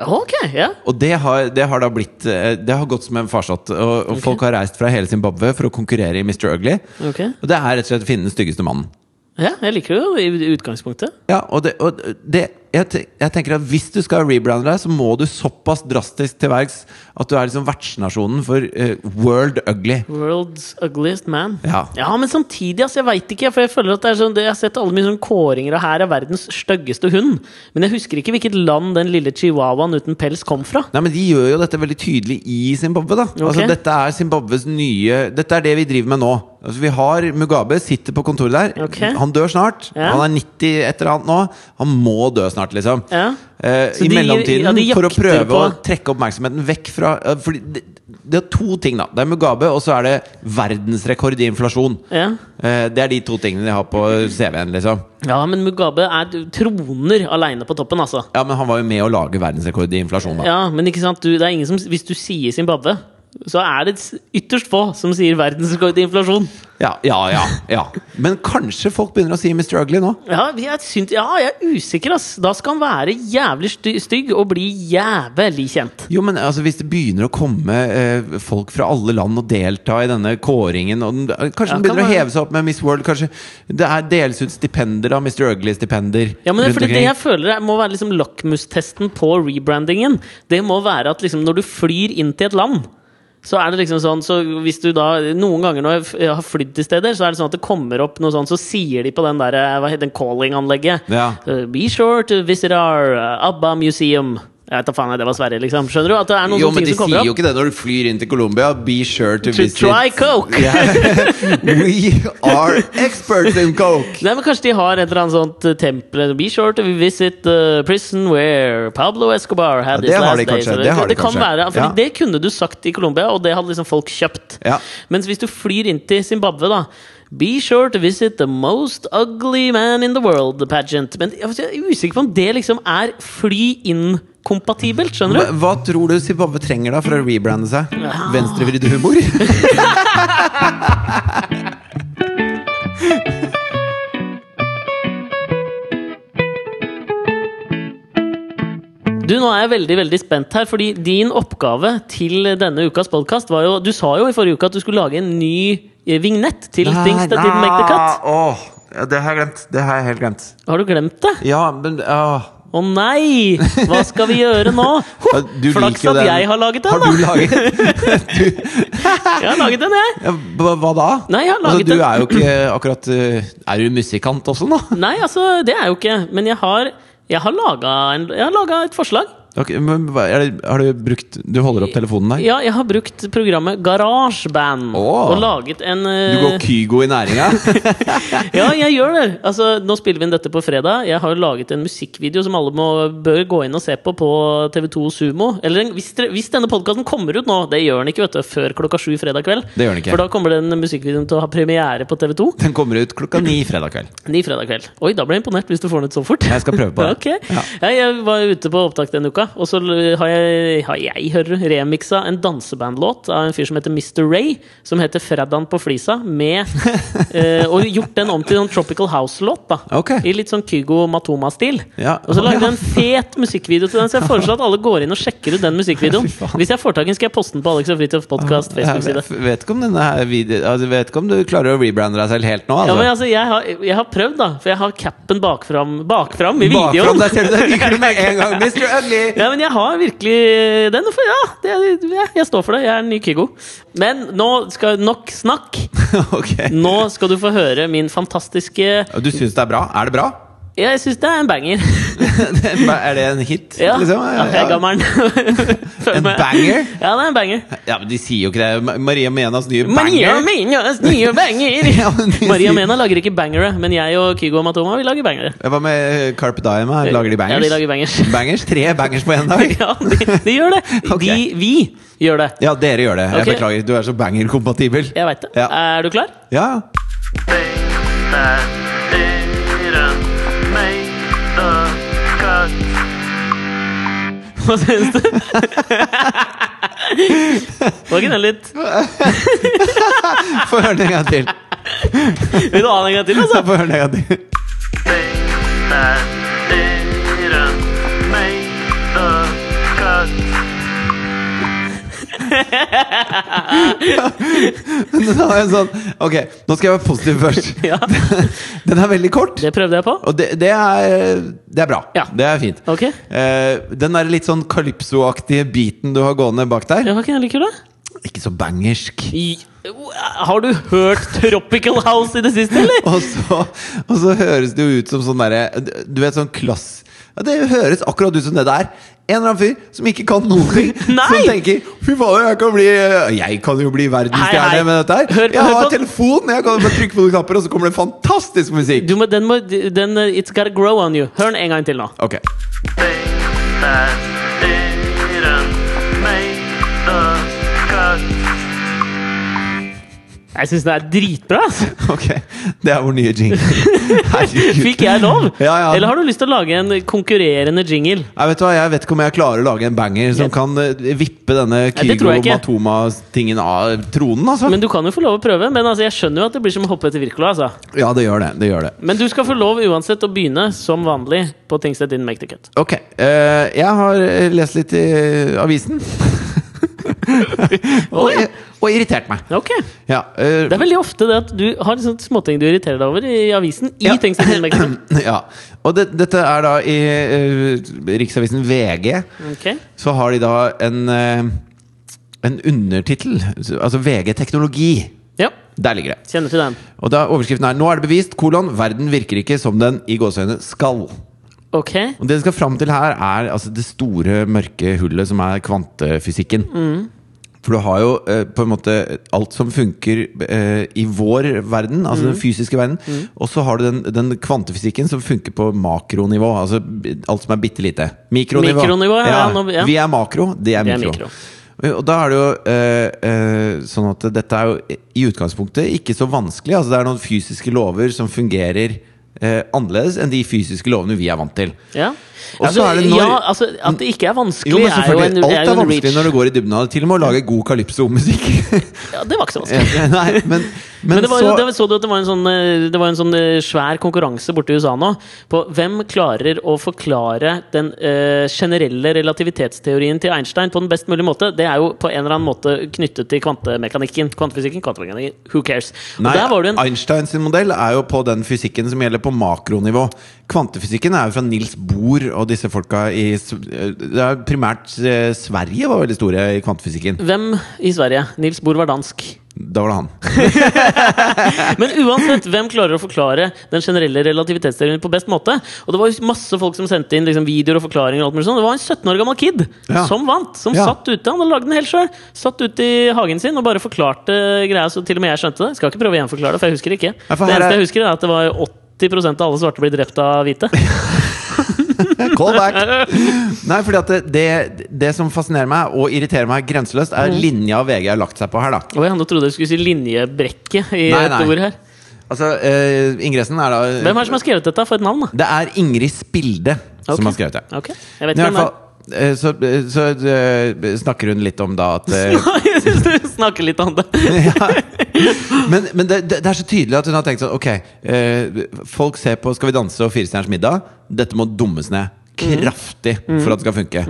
[SPEAKER 1] Ok, ja.
[SPEAKER 2] Og det har, det har da blitt eh, Det har gått som en farsott. Og, og folk har reist fra hele Zimbabwe for å konkurrere i Mr. Ugly.
[SPEAKER 1] Ok.
[SPEAKER 2] Og det er rett og slett å finne den styggeste mannen.
[SPEAKER 1] ja. Jeg liker det jo i utgangspunktet.
[SPEAKER 2] Ja, og det, og det jeg, te- jeg tenker at Hvis du skal rebrande deg, så må du såpass drastisk til verks at du er liksom vertsnasjonen for eh, world ugly.
[SPEAKER 1] World's ugliest man.
[SPEAKER 2] Ja.
[SPEAKER 1] men samtidig, altså, jeg veit ikke. For jeg føler at det er sånn, det- jeg har sett alle mine sånne kåringer av her er verdens styggeste hund. Men jeg husker ikke hvilket land den lille chihuahuaen uten pels kom fra.
[SPEAKER 2] Nei, men De gjør jo dette veldig tydelig i Zimbabwe. da Altså Dette er Zimbabwes nye Dette er det vi driver med nå. Altså Vi har Mugabe, sitter på kontoret der.
[SPEAKER 1] Ok.
[SPEAKER 2] Han dør snart.
[SPEAKER 1] Ja.
[SPEAKER 2] Han er 90 et eller annet nå. Han må dø snart, liksom.
[SPEAKER 1] Ja.
[SPEAKER 2] Eh,
[SPEAKER 1] Så
[SPEAKER 2] I
[SPEAKER 1] de-
[SPEAKER 2] mellomtiden,
[SPEAKER 1] ja, de
[SPEAKER 2] for å
[SPEAKER 1] jakter
[SPEAKER 2] prøve å
[SPEAKER 1] på-
[SPEAKER 2] trekke oppmerksomheten vekk fra eh, Fordi det, det er to ting, da. Det er Mugabe, og så er det verdensrekord i inflasjon.
[SPEAKER 1] Ja.
[SPEAKER 2] Eh, det er de to tingene de har på CV-en, liksom.
[SPEAKER 1] ja, men Mugabe er troner aleine på toppen, altså.
[SPEAKER 2] Ja, men han var jo med å lage verdensrekord i inflasjon, da.
[SPEAKER 1] Ja, men ikke sant, du, det er ingen som, hvis du sier Zimbabwe, så er det s- ytterst få som sier verdensrekord i inflasjon.
[SPEAKER 2] Ja, ja, ja, ja. Men kanskje folk begynner å si Mr. Ugly nå?
[SPEAKER 1] Ja, jeg, syns- ja, jeg er usikker, ass. Da skal han være jævlig sty- stygg og bli jævlig kjent.
[SPEAKER 2] Jo, men altså, Hvis det begynner å komme eh, folk fra alle land og delta i denne kåringen og den, eh, Kanskje
[SPEAKER 1] Ja,
[SPEAKER 2] den begynner å
[SPEAKER 1] kan være.
[SPEAKER 2] heve seg opp med Miss World? Kanskje det er deles ut stipender av Mr. Ugly-stipender?
[SPEAKER 1] Ja, men det, er
[SPEAKER 2] rundt
[SPEAKER 1] fordi det
[SPEAKER 2] omkring.
[SPEAKER 1] jeg føler er- må være liksom lakmustesten på rebrandingen, det må være at liksom når du flyr inn til et land så er det liksom sånn, så hvis du da, Noen ganger når jeg f- jeg har flydd til steder, så er det sånn at det kommer opp noe sånn, så sier de på den der, eh, hva heter den calling-anlegget
[SPEAKER 2] Ja.
[SPEAKER 1] eh, Be sure to visit our eh, ABBA museum. Jeg vet da faen, det var Sverige, liksom. Skjønner du? At det er noen
[SPEAKER 2] Jo,
[SPEAKER 1] sånne
[SPEAKER 2] men
[SPEAKER 1] ting
[SPEAKER 2] de
[SPEAKER 1] som kommer
[SPEAKER 2] sier
[SPEAKER 1] opp.
[SPEAKER 2] jo ikke det når du flyr inn til Colombia. Be sure to,
[SPEAKER 1] To
[SPEAKER 2] visit
[SPEAKER 1] try coke.
[SPEAKER 2] We are experts in coke!
[SPEAKER 1] Nei, men Kanskje de har et eller annet sånt eh, tempel Be sure to visit the prison where Pablo Escobar had
[SPEAKER 2] Ja,
[SPEAKER 1] his
[SPEAKER 2] det har
[SPEAKER 1] last
[SPEAKER 2] de
[SPEAKER 1] days.
[SPEAKER 2] kanskje,
[SPEAKER 1] Eller-
[SPEAKER 2] det har de
[SPEAKER 1] kan
[SPEAKER 2] kanskje.
[SPEAKER 1] være, fordi
[SPEAKER 2] Ja.
[SPEAKER 1] Det kunne du sagt i Colombia, og det hadde liksom folk kjøpt.
[SPEAKER 2] Ja.
[SPEAKER 1] Mens hvis du flyr inn til Zimbabwe, da Be sure to visit the most ugly man in the world the pageant. Men jeg er usikker på om det liksom er fly inn-kompatibelt, skjønner du?
[SPEAKER 2] Hva, hva tror du Zimbabwe trenger da for å rebrande seg?
[SPEAKER 1] Ja.
[SPEAKER 2] Venstrevridd humor?
[SPEAKER 1] Du, Nå er jeg veldig veldig spent her, fordi din oppgave til denne ukas podkast var jo Du sa jo i forrige uke at du skulle lage en ny eh, vignett til Things That Didn't Make The Cut.
[SPEAKER 2] Åh, ja, det har jeg glemt. Det har jeg helt glemt.
[SPEAKER 1] Har du glemt det?
[SPEAKER 2] Ja, men åh.
[SPEAKER 1] Å nei! Hva skal vi gjøre nå? Ho!
[SPEAKER 2] Ja, du
[SPEAKER 1] Flaks
[SPEAKER 2] liker jo
[SPEAKER 1] at
[SPEAKER 2] den.
[SPEAKER 1] jeg har laget den,
[SPEAKER 2] Har du
[SPEAKER 1] da!
[SPEAKER 2] laget
[SPEAKER 1] Jeg har laget den, jeg!
[SPEAKER 2] ja, hva, hva da?
[SPEAKER 1] Nei, jeg har laget
[SPEAKER 2] altså, du
[SPEAKER 1] den.
[SPEAKER 2] er jo ikke akkurat eh, Er du musikant også nå?
[SPEAKER 1] Nei, altså, det er jo ikke Men jeg har, jeg har laga en- jeg har laga et forslag.
[SPEAKER 2] Ok, men, hva- er det, har du brukt Du holder opp telefonen der?
[SPEAKER 1] Ja, jeg har brukt programmet GarageBand
[SPEAKER 2] Åh.
[SPEAKER 1] og laget en
[SPEAKER 2] Du
[SPEAKER 1] eh,
[SPEAKER 2] går Kygo i næringa?
[SPEAKER 1] Ja, jeg gjør det! Altså, nå spiller vi inn dette på fredag. Jeg har jo laget en musikkvideo som alle må, bør gå inn og se på på TV2 Sumo. Eller en- hvis, dere- hvis denne podkasten kommer ut nå, det gjør den ikke, vet du, før klokka sju fredag kveld.
[SPEAKER 2] Det gjør den ikke.
[SPEAKER 1] For da kommer den musikkvideoen til å ha premiere på TV2.
[SPEAKER 2] Den kommer ut klokka ni fredag kveld.
[SPEAKER 1] Ni fredag kveld. Oi, da ble jeg imponert hvis du får den ut så fort.
[SPEAKER 2] Jeg skal prøve på det.
[SPEAKER 1] Ok.
[SPEAKER 2] Ja.
[SPEAKER 1] Jeg, jeg var ute på opptak denne uka, og så l- har jeg, har jeg hører, du, remiksa en dansebandlåt av en fyr som heter Mr. Ray, som heter 'Freddan på flisa', med eh, Og gjort den om til en Tropical House-låt, da.
[SPEAKER 2] Ok.
[SPEAKER 1] I litt sånn Kygo Matoma-stil.
[SPEAKER 2] Ja.
[SPEAKER 1] Og så lagde
[SPEAKER 2] Ja.
[SPEAKER 1] jeg en fet musikkvideo til den, så jeg foreslår at alle går inn og sjekker ut den musikkvideoen.
[SPEAKER 2] Fy faen.
[SPEAKER 1] Hvis jeg får tak i den, skal jeg poste den på Alex og Fridtjof Podcast Facebook-side.
[SPEAKER 2] Jeg vet ikke om, denne her video, altså, jeg vet ikke om du klarer å rebrande deg selv helt nå.
[SPEAKER 1] Ja,
[SPEAKER 2] Altså.
[SPEAKER 1] men altså, jeg har, jeg har prøvd, da. For jeg har capen bakfram, bakfram i
[SPEAKER 2] Bakfra
[SPEAKER 1] videoen.
[SPEAKER 2] deg selv, der ryker du med en gang! Mr. Ugly!
[SPEAKER 1] Ja, men jeg har virkelig den. For, ja, det, jeg, jeg står for det. Jeg er en ny Kygo. Men nå skal nok snakk.
[SPEAKER 2] ok.
[SPEAKER 1] Nå skal du få høre min fantastiske
[SPEAKER 2] Og Du syns det er bra? Er det bra?
[SPEAKER 1] Jeg syns det er en banger.
[SPEAKER 2] er det en hit?
[SPEAKER 1] Ja,
[SPEAKER 2] liksom?
[SPEAKER 1] ja, jeg ga meg den. Følg
[SPEAKER 2] En
[SPEAKER 1] med.
[SPEAKER 2] banger?
[SPEAKER 1] Ja, det er en banger.
[SPEAKER 2] Ja, men De sier jo ikke det. Ma- Maria Menas nye
[SPEAKER 1] Maria
[SPEAKER 2] banger.
[SPEAKER 1] Menas nye banger!
[SPEAKER 2] Ja, men de
[SPEAKER 1] Maria
[SPEAKER 2] sier-
[SPEAKER 1] Mena lager ikke bangere, men jeg og Kygo og Matoma vi lager bangere.
[SPEAKER 2] Hva med eh, Carpe Diem? her? Lager de bangers?
[SPEAKER 1] Ja, de lager bangers.
[SPEAKER 2] bangers? Tre bangers på én dag?
[SPEAKER 1] Ja, de, de gjør det.
[SPEAKER 2] Ok.
[SPEAKER 1] De, vi gjør det.
[SPEAKER 2] Ja, dere gjør det. Jeg
[SPEAKER 1] Ok.
[SPEAKER 2] beklager. Du er så banger-kompatibel.
[SPEAKER 1] Jeg veit det.
[SPEAKER 2] Ja.
[SPEAKER 1] Er du klar?
[SPEAKER 2] ja.
[SPEAKER 1] Hva syns du? Var ikke den litt
[SPEAKER 2] Få høre den en gang til.
[SPEAKER 1] Vil du ha den en gang til, altså?
[SPEAKER 2] Få høre den en gang til. Men den har en sånn Ok, nå skal jeg være positiv først.
[SPEAKER 1] Ja,
[SPEAKER 2] Den er veldig kort,
[SPEAKER 1] det prøvde jeg på.
[SPEAKER 2] og det, det, er, det er bra.
[SPEAKER 1] Ja.
[SPEAKER 2] Det er fint.
[SPEAKER 1] Ok.
[SPEAKER 2] Eh, den der litt sånn kalypsoaktige biten du har gående bak der,
[SPEAKER 1] Ja, var ikke den litt kul, da?
[SPEAKER 2] ikke så bangersk.
[SPEAKER 1] I- Har du hørt Tropical House i det siste, eller?
[SPEAKER 2] Og så, og så høres det jo ut som sånn derre Du vet, sånn klass ja, Det høres akkurat ut som det der. En eller annen fyr som ikke kan noen ting.
[SPEAKER 1] Nei!
[SPEAKER 2] Som tenker 'fy fader, jeg kan bli Jeg kan jo bli
[SPEAKER 1] Hei, hei.
[SPEAKER 2] verdensstjerne med dette her'.
[SPEAKER 1] Hør på-
[SPEAKER 2] jeg
[SPEAKER 1] hør
[SPEAKER 2] har
[SPEAKER 1] på-
[SPEAKER 2] telefon, jeg kan bare trykke på noen knapper, og så kommer det fantastisk musikk.
[SPEAKER 1] Du må, den må den, eh, It's gotta grow on you. Hør den en gang til nå.
[SPEAKER 2] Ok.
[SPEAKER 1] Jeg syns det er dritbra! Altså.
[SPEAKER 2] Ok, det er vår nye jingle. Herregud.
[SPEAKER 1] Fikk jeg lov?
[SPEAKER 2] Ja, ja.
[SPEAKER 1] Eller har du lyst til å lage en konkurrerende jingle?
[SPEAKER 2] Nei, vet du hva, Jeg vet ikke om jeg klarer å lage en banger som
[SPEAKER 1] Ja.
[SPEAKER 2] kan eh, vippe denne
[SPEAKER 1] det
[SPEAKER 2] Kygo
[SPEAKER 1] tror jeg ikke.
[SPEAKER 2] Matoma-tingen av tronen, altså.
[SPEAKER 1] Men du kan jo få lov å prøve. Men altså, jeg skjønner jo at det blir som å hoppe etter Wirkola. Altså.
[SPEAKER 2] ja, det gjør det. det gjør det
[SPEAKER 1] Men du skal få lov uansett å begynne som vanlig på Tingstedt in Make the Cut.
[SPEAKER 2] Ok, eh, jeg har eh, lest litt i avisen. og, og irritert meg.
[SPEAKER 1] Ok.
[SPEAKER 2] Ja, eh,
[SPEAKER 1] Det er veldig ofte det at du har liksom småting du irriterer deg over i avisen. I
[SPEAKER 2] Ja.
[SPEAKER 1] Tingstedt in Make the Cut.
[SPEAKER 2] ja. Og det, dette er da i eh, Riksavisen VG.
[SPEAKER 1] Ok.
[SPEAKER 2] Så har de da en, eh, en undertittel. Altså VG teknologi.
[SPEAKER 1] Ja,
[SPEAKER 2] Der ligger det.
[SPEAKER 1] kjenner til den.
[SPEAKER 2] Og da overskriften er 'Nå er det bevist', kolon, 'Verden virker ikke som den i gåseøynene skal'.
[SPEAKER 1] Ok.
[SPEAKER 2] Og det det skal fram til her, er altså, det store mørke hullet som er kvantefysikken.
[SPEAKER 1] Mm.
[SPEAKER 2] For du har jo eh, på en måte alt som funker eh, i vår verden, altså
[SPEAKER 1] Mm.
[SPEAKER 2] den fysiske verden. Og så har du den, den kvantefysikken som funker på makronivå. Altså b- alt som er bitte lite. Mikronivå.
[SPEAKER 1] Mikronivå, ja, ja, nå- ja.
[SPEAKER 2] Vi er makro, det er
[SPEAKER 1] Det er
[SPEAKER 2] mikro.
[SPEAKER 1] mikro.
[SPEAKER 2] Og da er det jo eh, eh, sånn at dette er jo i utgangspunktet ikke så vanskelig. Altså Det er noen fysiske lover som fungerer eh, annerledes enn de fysiske lovene vi er vant til.
[SPEAKER 1] Ja.
[SPEAKER 2] Og så
[SPEAKER 1] Altså,
[SPEAKER 2] er det når-
[SPEAKER 1] ja, altså, at det ikke er vanskelig,
[SPEAKER 2] Jo, men
[SPEAKER 1] er jo
[SPEAKER 2] selvfølgelig.
[SPEAKER 1] en, er
[SPEAKER 2] alt
[SPEAKER 1] jo
[SPEAKER 2] er
[SPEAKER 1] en
[SPEAKER 2] vanskelig
[SPEAKER 1] reach.
[SPEAKER 2] når du går i dybden av det. Til og med å lage god calypso-musikk.
[SPEAKER 1] Ja, det var ikke så vanskelig.
[SPEAKER 2] Nei, men, men,
[SPEAKER 1] Men, det var,
[SPEAKER 2] så
[SPEAKER 1] jo- det, var- så du at det var en sånn, eh, det var en sånn eh, svær konkurranse borte i USA nå? På hvem klarer å forklare den eh, generelle relativitetsteorien til Einstein på den best mulige måte? Det er jo på en eller annen måte knyttet til kvantemekanikken. Kvantefysikken, kvantemekanikken, who cares? Og
[SPEAKER 2] Nei,
[SPEAKER 1] der var det en
[SPEAKER 2] Einstein sin modell er jo på den fysikken som gjelder på makronivå. Kvantefysikken er jo fra Niels Bohr og disse folka i S- eh, Det er primært eh, Sverige var veldig store i kvantefysikken.
[SPEAKER 1] Hvem i Sverige? Nils Bohr var dansk.
[SPEAKER 2] Da var det han.
[SPEAKER 1] Men uansett, hvem klarer å forklare den generelle relativitetsteorien på best måte? Og det var jo masse folk som sendte inn liksom, videoer og forklaringer. og alt mulig sånt. Det var en 17 år gammel kid
[SPEAKER 2] Ja.
[SPEAKER 1] som vant! Som
[SPEAKER 2] Ja.
[SPEAKER 1] satt ute. Han hadde lagd den helt sjøl. Satt ute i hagen sin og bare forklarte greia så til og med jeg skjønte det. Skal ikke prøve å gjenforklare det, for jeg husker det ikke.
[SPEAKER 2] Nei, for
[SPEAKER 1] det
[SPEAKER 2] her er-
[SPEAKER 1] eneste jeg husker, er at det var 80 av alle svarte blir drept av hvite.
[SPEAKER 2] Call back! Nei, fordi at det, det, det som fascinerer meg og irriterer meg grenseløst, er
[SPEAKER 1] Mhm.
[SPEAKER 2] linja VG har lagt seg på her, da.
[SPEAKER 1] Og jeg nå trodde du skulle si linjebrekke i
[SPEAKER 2] Nei,
[SPEAKER 1] et
[SPEAKER 2] nei.
[SPEAKER 1] ord her.
[SPEAKER 2] Altså, eh, Ingressen er da
[SPEAKER 1] Hvem er det som har skrevet dette? For et navn, da?
[SPEAKER 2] Det er Ingrid Spilde
[SPEAKER 1] Ok.
[SPEAKER 2] som har skrevet det.
[SPEAKER 1] Ok, Jeg vet
[SPEAKER 2] Men i hvert
[SPEAKER 1] ikke hvem det
[SPEAKER 2] fall,
[SPEAKER 1] er.
[SPEAKER 2] eh, så, så eh, snakker hun litt om da at eh,
[SPEAKER 1] Jeg syns du snakker litt om det.
[SPEAKER 2] ja. Men, men det, det, det er så tydelig at hun har tenkt sånn Ok, eh, folk ser på Skal vi danse og Firestjerners middag. Dette må dummes ned. Kraftig
[SPEAKER 1] Mm.
[SPEAKER 2] for at det skal funke.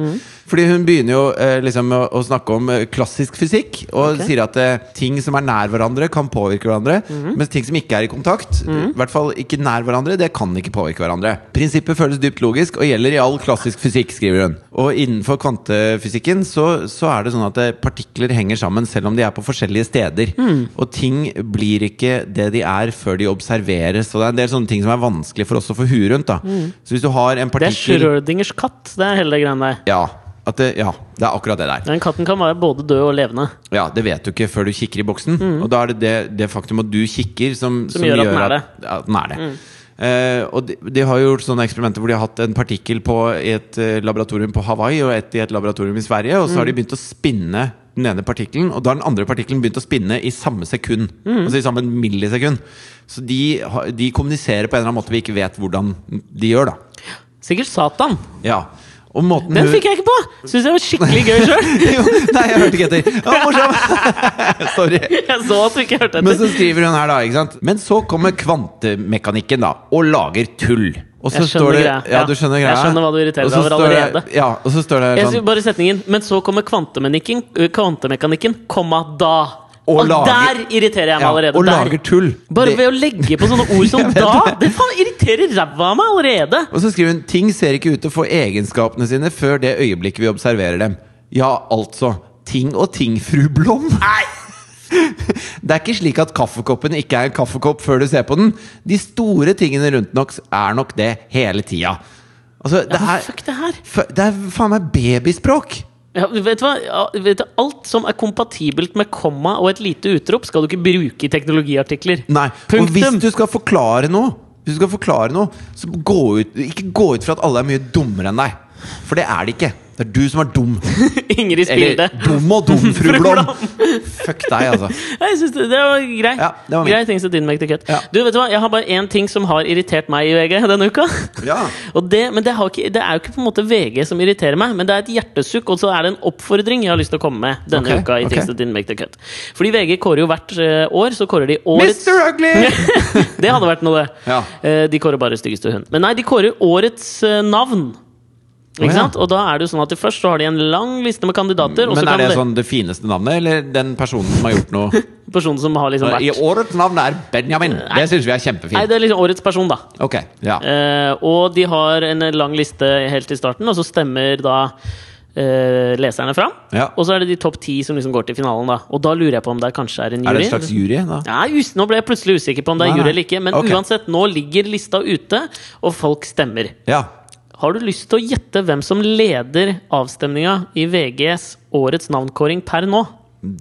[SPEAKER 2] Fordi hun begynner jo eh, liksom med å, å snakke om eh, klassisk fysikk. Og
[SPEAKER 1] Ok.
[SPEAKER 2] sier at eh, ting som er nær hverandre, kan påvirke hverandre.
[SPEAKER 1] Mm.
[SPEAKER 2] Mens ting som ikke er i kontakt, i hvert fall ikke nær hverandre, det kan ikke påvirke hverandre. Prinsippet føles dypt logisk og gjelder i all klassisk fysikk, skriver hun. Og innenfor kvantefysikken så, så er det sånn at eh, partikler henger sammen selv om de er på forskjellige steder.
[SPEAKER 1] Hmm.
[SPEAKER 2] Og ting blir ikke det de er før de observeres. Og det er en del sånne ting som er vanskelig for oss å få huet rundt. Da. Så hvis du har en
[SPEAKER 1] Hmm. Det er
[SPEAKER 2] partikkel
[SPEAKER 1] Schrødingers katt. Det er hele det greiene der.
[SPEAKER 2] ja, at det, ja, det er akkurat det der.
[SPEAKER 1] Den katten kan være både død og levende.
[SPEAKER 2] Ja, Det vet du ikke før du kikker i boksen. Og da er det det, det faktum at du kikker, som,
[SPEAKER 1] Mm. Som gjør at den er Mm.
[SPEAKER 2] at- at den er det. Eh, og de, de har jo gjort sånne eksperimenter hvor de har hatt en partikkel på, i et eh, laboratorium på Hawaii og et i et laboratorium i Sverige, og så
[SPEAKER 1] Mm.
[SPEAKER 2] har de begynt å spinne den ene partikkelen, og da har den andre partikkelen begynt å spinne i samme sekund.
[SPEAKER 1] Mm.
[SPEAKER 2] Altså i samme millisekund. Så de, har- de kommuniserer på en eller annen måte vi ikke vet hvordan de gjør, da.
[SPEAKER 1] Sikkert Satan!
[SPEAKER 2] Ja. Og måten
[SPEAKER 1] Den
[SPEAKER 2] hun-
[SPEAKER 1] fikk jeg ikke på! Syns jeg var skikkelig gøy sjøl!
[SPEAKER 2] jo, Nei, jeg hørte ikke etter. Ja, morsom! Sorry.
[SPEAKER 1] Jeg så at du ikke hørte
[SPEAKER 2] Men så
[SPEAKER 1] etter.
[SPEAKER 2] skriver hun her, da. ikke sant? Men så kommer kvantemekanikken, da, og lager tull. Og så
[SPEAKER 1] Jeg skjønner
[SPEAKER 2] står det,
[SPEAKER 1] greia.
[SPEAKER 2] Ja,
[SPEAKER 1] Ja.
[SPEAKER 2] du skjønner
[SPEAKER 1] Jeg
[SPEAKER 2] greia.
[SPEAKER 1] skjønner hva du irriterer
[SPEAKER 2] Og så
[SPEAKER 1] deg over
[SPEAKER 2] står det-
[SPEAKER 1] allerede.
[SPEAKER 2] Ja, og så står det
[SPEAKER 1] Jeg sier
[SPEAKER 2] sånn
[SPEAKER 1] bare setningen Men så kommer kvantemekanikken, ø, kvantemekanikken komma da.
[SPEAKER 2] Og
[SPEAKER 1] Og,
[SPEAKER 2] lager-
[SPEAKER 1] der irriterer jeg meg
[SPEAKER 2] ja,
[SPEAKER 1] allerede.
[SPEAKER 2] Og
[SPEAKER 1] der.
[SPEAKER 2] lager tull.
[SPEAKER 1] Bare
[SPEAKER 2] Det-
[SPEAKER 1] ved å legge på sånne ord som
[SPEAKER 2] Jeg vet
[SPEAKER 1] da!
[SPEAKER 2] det.
[SPEAKER 1] Det faen irriterer ræva av meg allerede!
[SPEAKER 2] Og så skriver hun ting ser ikke ut til å få egenskapene sine før det øyeblikket vi observerer dem. Ja, altså. Ting og ting, fru Blom. Nei! Det er ikke slik at kaffekoppen ikke er en kaffekopp før du ser på den. De store tingene rundt nok er nok det hele tida. Altså, det
[SPEAKER 1] Ja,
[SPEAKER 2] er,
[SPEAKER 1] fuck det her.
[SPEAKER 2] Fa- Det er faen meg babyspråk!
[SPEAKER 1] Ja, vet du hva? Ja, vet du, alt som er kompatibelt med komma og et lite utrop, skal du ikke bruke i teknologiartikler.
[SPEAKER 2] Nei, Og hvis
[SPEAKER 1] Punktum!
[SPEAKER 2] du skal forklare noe, Hvis du skal forklare noe så gå ut, ikke gå ut fra at alle er mye dummere enn deg. For det er de ikke. Det er du som er dum.
[SPEAKER 1] Ingrid Spilde.
[SPEAKER 2] Eller dum og dum, fru
[SPEAKER 1] Fru
[SPEAKER 2] Blom.
[SPEAKER 1] Blom.
[SPEAKER 2] Fuck deg, altså.
[SPEAKER 1] Jeg synes det, det var grei.
[SPEAKER 2] Ja, det var min.
[SPEAKER 1] grei things to din make the cut.
[SPEAKER 2] Ja.
[SPEAKER 1] Du, vet du hva? Jeg har bare én ting som har irritert meg i VG denne uka.
[SPEAKER 2] Ja.
[SPEAKER 1] Og det, men det, har ikke, det er jo ikke på en måte VG som irriterer meg, men det er et hjertesukk, og så er det en oppfordring jeg har lyst til å komme med denne
[SPEAKER 2] Ok,
[SPEAKER 1] uka.
[SPEAKER 2] ok.
[SPEAKER 1] i Things That Didn't Make the Cut. Fordi VG kårer jo hvert eh, år så kårer de årets
[SPEAKER 2] Mr. Ugly!
[SPEAKER 1] Det hadde vært noe, det.
[SPEAKER 2] Ja.
[SPEAKER 1] Eh, De kårer bare styggeste hund. Men nei, de kårer årets eh, navn. Ikke
[SPEAKER 2] Å, ja.
[SPEAKER 1] sant? Og da er det jo sånn at det først så har de en lang liste med kandidater. Og så
[SPEAKER 2] Men
[SPEAKER 1] kan
[SPEAKER 2] er det
[SPEAKER 1] det-
[SPEAKER 2] sånn det fineste navnet, eller den personen som har gjort noe?
[SPEAKER 1] personen som har liksom
[SPEAKER 2] I
[SPEAKER 1] vært
[SPEAKER 2] årets navn er Benjamin. Det syns vi er
[SPEAKER 1] Nei,
[SPEAKER 2] kjempefint.
[SPEAKER 1] det er liksom årets person, da.
[SPEAKER 2] Ok, ja.
[SPEAKER 1] Eh, og de har en lang liste helt i starten, og så stemmer da eh, leserne fram.
[SPEAKER 2] Ja.
[SPEAKER 1] Og så er det de topp ti som liksom går til finalen, da. Og da lurer jeg på om det kanskje er en
[SPEAKER 2] Er
[SPEAKER 1] jury.
[SPEAKER 2] det en slags jury, da?
[SPEAKER 1] Nei, us nå ble jeg plutselig usikker på om det er
[SPEAKER 2] Nei, nei.
[SPEAKER 1] jury eller ikke. Men
[SPEAKER 2] Ok.
[SPEAKER 1] uansett, nå ligger lista ute, og folk stemmer.
[SPEAKER 2] Ja.
[SPEAKER 1] Har du lyst til å gjette hvem som leder avstemninga i VGs årets navnkåring per nå?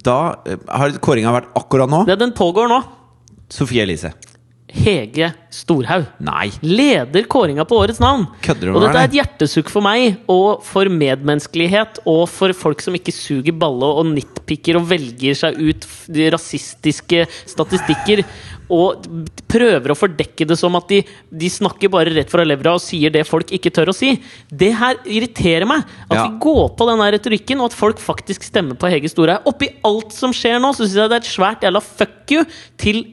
[SPEAKER 2] Da eh, har kåringa vært akkurat nå.
[SPEAKER 1] Det, den pågår nå.
[SPEAKER 2] Sofie Elise.
[SPEAKER 1] Hege Storhaug.
[SPEAKER 2] Nei.
[SPEAKER 1] leder kåringa på årets navn.
[SPEAKER 2] Kødder du med
[SPEAKER 1] og dette
[SPEAKER 2] meg,
[SPEAKER 1] er et hjertesukk for meg, og for medmenneskelighet, og for folk som ikke suger balle og nitpicker og velger seg ut f- de rasistiske statistikker. Og d- prøver å fordekke det som at de, de snakker bare rett fra levra og sier det folk ikke tør å si. Det her irriterer meg. At
[SPEAKER 2] Ja.
[SPEAKER 1] vi går på den her retorikken, og at folk faktisk stemmer på Hege Storhaug. Oppi alt som skjer nå, så syns jeg det er et svært jævla fuck you til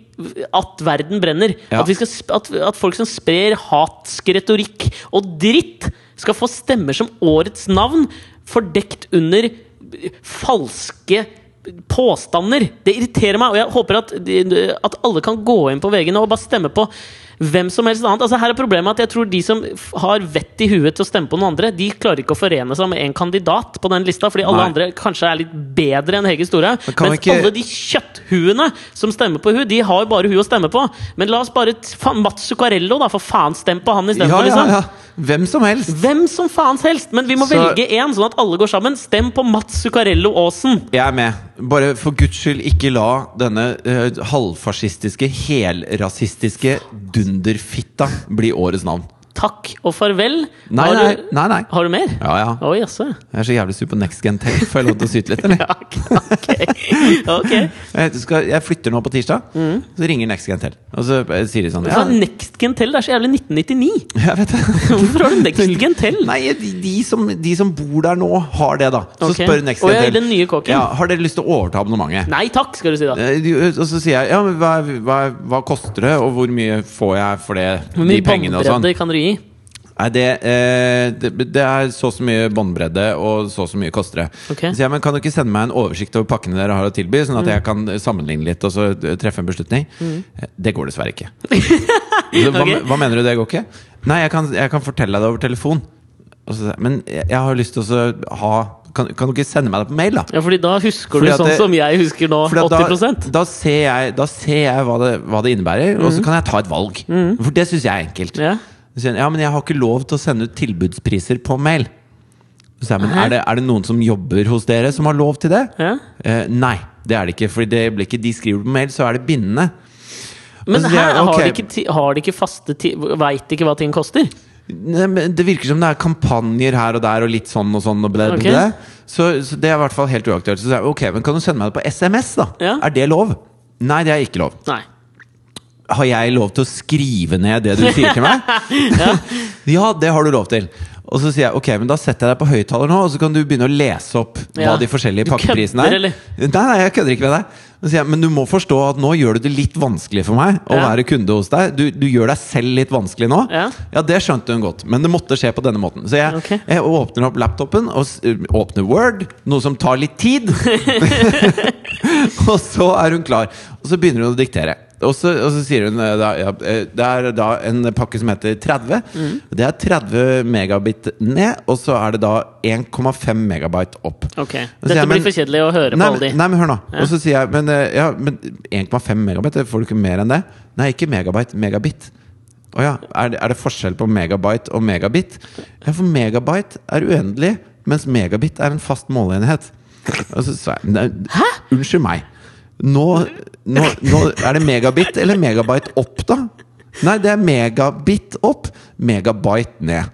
[SPEAKER 1] at verden brenner.
[SPEAKER 2] Ja.
[SPEAKER 1] At, vi skal, sp- at, at folk som sprer hatsk retorikk og dritt, skal få stemmer som årets navn fordekt under eh, falske påstander. Det irriterer meg, og jeg håper at, de- at alle kan gå inn på VG nå og bare stemme på hvem som helst annet. Altså, her er problemet at jeg tror de som f- har vett i huet til å stemme på noen andre, de klarer ikke å forene seg med en kandidat på den lista, fordi alle
[SPEAKER 2] Nei.
[SPEAKER 1] andre kanskje er litt bedre enn Hege Storhaug.
[SPEAKER 2] Men kan vi
[SPEAKER 1] Mens
[SPEAKER 2] ikke-
[SPEAKER 1] alle de kjøtthuene som stemmer på hun, de har jo bare hun å stemme på. Men la oss bare t- faen, Mats Zuccarello, da, for faen, stem på han
[SPEAKER 2] Ja,
[SPEAKER 1] istedenfor,
[SPEAKER 2] ja,
[SPEAKER 1] liksom.
[SPEAKER 2] ja. Hvem som helst.
[SPEAKER 1] Hvem som faen helst! Men vi må
[SPEAKER 2] Så-
[SPEAKER 1] velge én, sånn at alle går sammen. Stem på Mats Zuccarello Aasen!
[SPEAKER 2] Jeg er med. Bare for guds skyld, ikke la denne eh, halvfascistiske, helrasistiske dunderfitta bli årets navn.
[SPEAKER 1] Takk og farvel.
[SPEAKER 2] Nei,
[SPEAKER 1] har,
[SPEAKER 2] nei,
[SPEAKER 1] du,
[SPEAKER 2] nei. nei.
[SPEAKER 1] har du mer?
[SPEAKER 2] Ja, ja.
[SPEAKER 1] Oi, jaså.
[SPEAKER 2] Jeg er så jævlig sur på next gen tech. Får jeg lov til å syte litt, eller?
[SPEAKER 1] Ja, ok. ok.
[SPEAKER 2] Jeg, skal, jeg flytter nå på tirsdag, så ringer next gen til. Og så eh, sier de sånn
[SPEAKER 1] Ja.
[SPEAKER 2] ja,
[SPEAKER 1] Mm. Next Gentel, det er så jævlig 1999!
[SPEAKER 2] Jeg vet det.
[SPEAKER 1] Hvorfor har du Next Gentel?
[SPEAKER 2] Nei, de, de, som, de som bor der nå, har det, da. Så
[SPEAKER 1] Ok.
[SPEAKER 2] spør Next
[SPEAKER 1] Å, ja,
[SPEAKER 2] Gentel.
[SPEAKER 1] den nye kåken.
[SPEAKER 2] Ja, har dere lyst til å overta abonnementet?
[SPEAKER 1] Nei takk, skal du si da.
[SPEAKER 2] Eh, de- Og så sier jeg ja, men hva, hva, hva koster det, og hvor mye får jeg for det?
[SPEAKER 1] Hvor
[SPEAKER 2] de
[SPEAKER 1] mye
[SPEAKER 2] pengene og sånn?
[SPEAKER 1] båndbredde kan du gi?
[SPEAKER 2] Nei, det, eh, det, det er så og så mye båndbredde, og så og så mye koster det.
[SPEAKER 1] Ok. Mm.
[SPEAKER 2] Så jeg, men kan du ikke sende meg en oversikt over pakkene dere har å tilby, sånn at jeg kan sammenligne litt og så eh, treffe en beslutning? Eh, Det går dessverre ikke. Så, hva,
[SPEAKER 1] Ok.
[SPEAKER 2] hva mener du, det går ikke? Nei, jeg kan, jeg kan fortelle deg det over telefon. Og så, sier jeg, men jeg, jeg har lyst til å så ha kan, kan du ikke sende meg det på mail, da?
[SPEAKER 1] Ja, fordi da husker
[SPEAKER 2] Fordi
[SPEAKER 1] du
[SPEAKER 2] at
[SPEAKER 1] sånn
[SPEAKER 2] det-
[SPEAKER 1] som jeg husker nå,
[SPEAKER 2] Fordi at
[SPEAKER 1] 80
[SPEAKER 2] da, da ser jeg, da ser jeg hva, det, hva det innebærer, og så kan jeg ta et valg. For det syns jeg er enkelt.
[SPEAKER 1] Mhm. Ja.
[SPEAKER 2] Så sier han, ja, men jeg har ikke lov til å sende ut tilbudspriser på mail. Så sier jeg, men er det, er det noen som jobber hos dere som har lov til det?
[SPEAKER 1] Ja.
[SPEAKER 2] Eh, nei, det er det ikke. For i det øyeblikket de skriver på mail, så er det bindende.
[SPEAKER 1] Men
[SPEAKER 2] Altså, det
[SPEAKER 1] her
[SPEAKER 2] er-
[SPEAKER 1] har,
[SPEAKER 2] ok.
[SPEAKER 1] de ikke, ti- har de ikke faste ti- Veit ikke hva ting koster?
[SPEAKER 2] Nei, men Det virker som det er kampanjer her og der og litt sånn og sånn. Og ble,
[SPEAKER 1] Ok.
[SPEAKER 2] ble. Så, så det er i hvert fall helt uaktuelt. Så sier jeg, ok, men kan du sende meg det på SMS, da?
[SPEAKER 1] Ja.
[SPEAKER 2] Er det lov? Nei, det er ikke lov.
[SPEAKER 1] Nei.
[SPEAKER 2] Har jeg lov til å skrive ned det du sier til meg? ja, det har du lov til. Og så sier jeg ok, men da setter jeg deg på høyttaler nå, og så kan du begynne å lese opp hva
[SPEAKER 1] Ja.
[SPEAKER 2] de forskjellige
[SPEAKER 1] Du
[SPEAKER 2] pakkeprisene
[SPEAKER 1] kødder,
[SPEAKER 2] er.
[SPEAKER 1] eller?
[SPEAKER 2] Nei, nei, jeg kødder ikke med deg. Så sier jeg, men du må forstå at nå gjør du det litt vanskelig for meg å
[SPEAKER 1] Ja.
[SPEAKER 2] være kunde hos deg. Du, du gjør deg selv litt vanskelig nå.
[SPEAKER 1] Ja.
[SPEAKER 2] det skjønte hun godt, men det måtte skje på denne måten. Så jeg,
[SPEAKER 1] Ok.
[SPEAKER 2] jeg åpner opp laptopen og s- åpner Word, noe som tar litt tid. Og så er hun klar. Og så begynner hun å diktere. Og så, og så sier hun eh, da, ja, eh, Det er da en pakke som heter 30.
[SPEAKER 1] Mm.
[SPEAKER 2] Det er 30 megabit ned, og så er det da 1,5 megabyte opp.
[SPEAKER 1] Ok.
[SPEAKER 2] Så sier
[SPEAKER 1] Dette
[SPEAKER 2] jeg,
[SPEAKER 1] blir
[SPEAKER 2] men-
[SPEAKER 1] for kjedelig å høre
[SPEAKER 2] nei,
[SPEAKER 1] på alle de.
[SPEAKER 2] men- Nei, men hør nå. Og så sier jeg Men, eh, ja, men 1,5 megabyte, får du ikke mer enn det? Nei, ikke megabyte, megabit. Å ja, er det, er det forskjell på megabyte og megabit? Ja, for megabyte er uendelig, mens megabit er en fast måleenhet. Og så sa jeg nei, Unnskyld meg. Nå, nå, nå er det megabit eller megabyte opp, da? Nei, det er megabit opp, megabyte ned.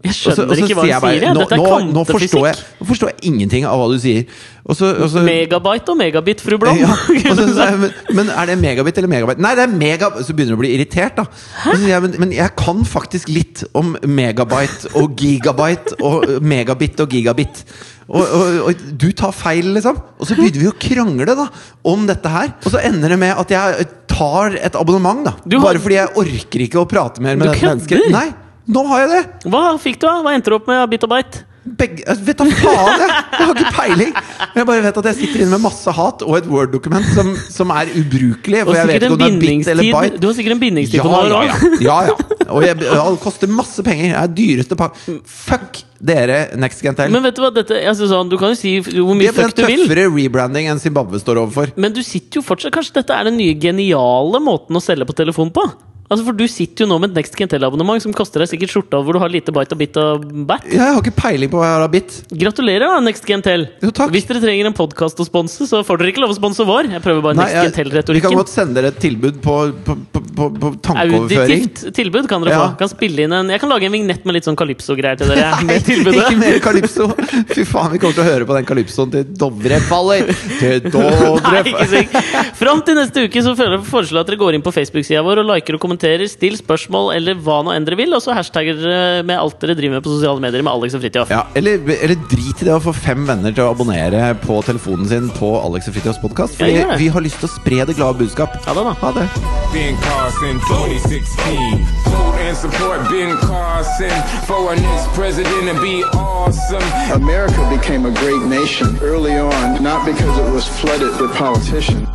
[SPEAKER 1] Jeg
[SPEAKER 2] Og så-
[SPEAKER 1] skjønner
[SPEAKER 2] og så
[SPEAKER 1] ikke hva
[SPEAKER 2] sier jeg
[SPEAKER 1] du
[SPEAKER 2] bare,
[SPEAKER 1] sier. jeg.
[SPEAKER 2] Nå,
[SPEAKER 1] Dette er
[SPEAKER 2] nå, nå, forstår jeg, Altså-
[SPEAKER 1] kvantefysikk.
[SPEAKER 2] nå forstår jeg ingenting av hva du sier. Og så, og så,
[SPEAKER 1] Megabyte og megabit, fru Blom.
[SPEAKER 2] Ja, og så sa jeg, men, men er det megabit eller megabyte? Nei, det er mega... Så begynner du å bli irritert, da. Og Så sier jeg, men, men jeg kan faktisk litt om megabyte og gigabyte og eh, megabit og gigabit. Og, og, og du tar feil, liksom. Og så begynner vi å krangle da om dette her. Og så ender det med at jeg tar et abonnement, da.
[SPEAKER 1] Du har-
[SPEAKER 2] Bare fordi jeg orker ikke å prate mer med
[SPEAKER 1] Du
[SPEAKER 2] dette mennesket.
[SPEAKER 1] kødder?
[SPEAKER 2] Nei, nå har jeg det!
[SPEAKER 1] Hva fikk du av? Hva endte du opp med av bit og bite?
[SPEAKER 2] Begge, jeg vet da faen, jeg! Jeg har ikke peiling! Jeg bare vet at jeg sitter inne med masse hat og et Word-dokument som, som er ubrukelig.
[SPEAKER 1] Du
[SPEAKER 2] For
[SPEAKER 1] har
[SPEAKER 2] jeg vet ikke
[SPEAKER 1] sikkert en
[SPEAKER 2] om det er bit eller
[SPEAKER 1] bindingstid
[SPEAKER 2] bite.
[SPEAKER 1] Du har sikkert en bindingstid
[SPEAKER 2] Ja,
[SPEAKER 1] på noen
[SPEAKER 2] ja,
[SPEAKER 1] år.
[SPEAKER 2] ja. ja, ja. Og jeg, ja, det koster masse penger. Det er dyreste pa Fuck dere, Next Gentel.
[SPEAKER 1] Men vet du hva, dette, jeg synes sånn, du kan jo si hvor
[SPEAKER 2] Det
[SPEAKER 1] mye
[SPEAKER 2] er en
[SPEAKER 1] fuck du vil.
[SPEAKER 2] tøffere rebranding enn Zimbabwe står overfor.
[SPEAKER 1] Men du sitter jo fortsatt Kanskje dette er den nye geniale måten å selge på telefon på? Altså For du sitter jo nå med et Next Gentel-abonnement som koster deg sikkert skjorta hvor du har lite bite og bit og bat.
[SPEAKER 2] Jeg har ikke peiling på hva jeg har av bit.
[SPEAKER 1] Gratulerer, da, Next Gentel.
[SPEAKER 2] Jo, takk.
[SPEAKER 1] Hvis dere trenger en podkast å sponse, så får dere ikke lov å sponse vår. Jeg prøver bare
[SPEAKER 2] Nei, jeg-
[SPEAKER 1] Next
[SPEAKER 2] vi kan
[SPEAKER 1] Gentel-retorikken.
[SPEAKER 2] godt sende dere et tilbud på, på, på, på, på tankeoverføring.
[SPEAKER 1] Auditivt tilbud kan dere
[SPEAKER 2] Ja.
[SPEAKER 1] få. Kan spille inn en, jeg kan lage en vignett med litt sånn calypso-greier til dere.
[SPEAKER 2] Nei,
[SPEAKER 1] med tilbudet
[SPEAKER 2] ikke mer Calypso! Fy faen, vi kommer til å høre på den Calypsoen til Dovre faller! Til Dovre
[SPEAKER 1] Nei, ikke sikkert. Fram til neste uke så føler jeg foreslår jeg at dere går inn på Facebook-sida vår og liker og kommenterer, still spørsmål eller hva nå enn dere vil, og så hashtagger dere med alt dere driver med på sosiale medier med Alex og Fridtjof.
[SPEAKER 2] Ja, eller, eller drit i det å få fem venner til å abonnere på telefonen sin på Alex og Fridtjofs podkast.
[SPEAKER 1] Ja,
[SPEAKER 2] Fordi
[SPEAKER 1] gjør det.
[SPEAKER 2] vi har lyst til å spre det glade budskap.
[SPEAKER 1] Ha det, da.
[SPEAKER 2] Ha det.
[SPEAKER 3] Ben Carson, 2016. Vote and support Ben Carson for our next president and be awesome.
[SPEAKER 4] America became a great nation early on, not because it was flooded with politicians,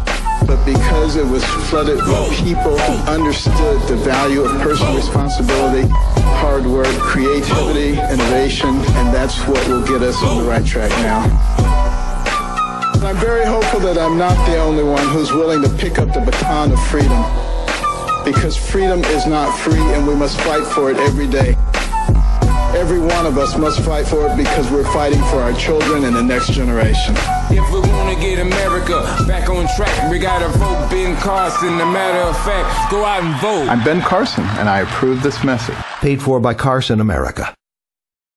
[SPEAKER 4] but because it was flooded with people who understood the value of personal responsibility, hard work, creativity, innovation, and that's what will get us on the right track now. I'm very hopeful that I'm not the only one who's willing to pick up the baton of freedom, because freedom is not free and we must fight for it every day. Every one of us must fight for it because we're fighting for our children and the next generation.
[SPEAKER 3] If we wanna get America back on track, we gotta vote Ben Carson. A matter of fact, go out and vote.
[SPEAKER 4] I'm Ben Carson, and I approve this message.
[SPEAKER 5] Paid for by Carson America.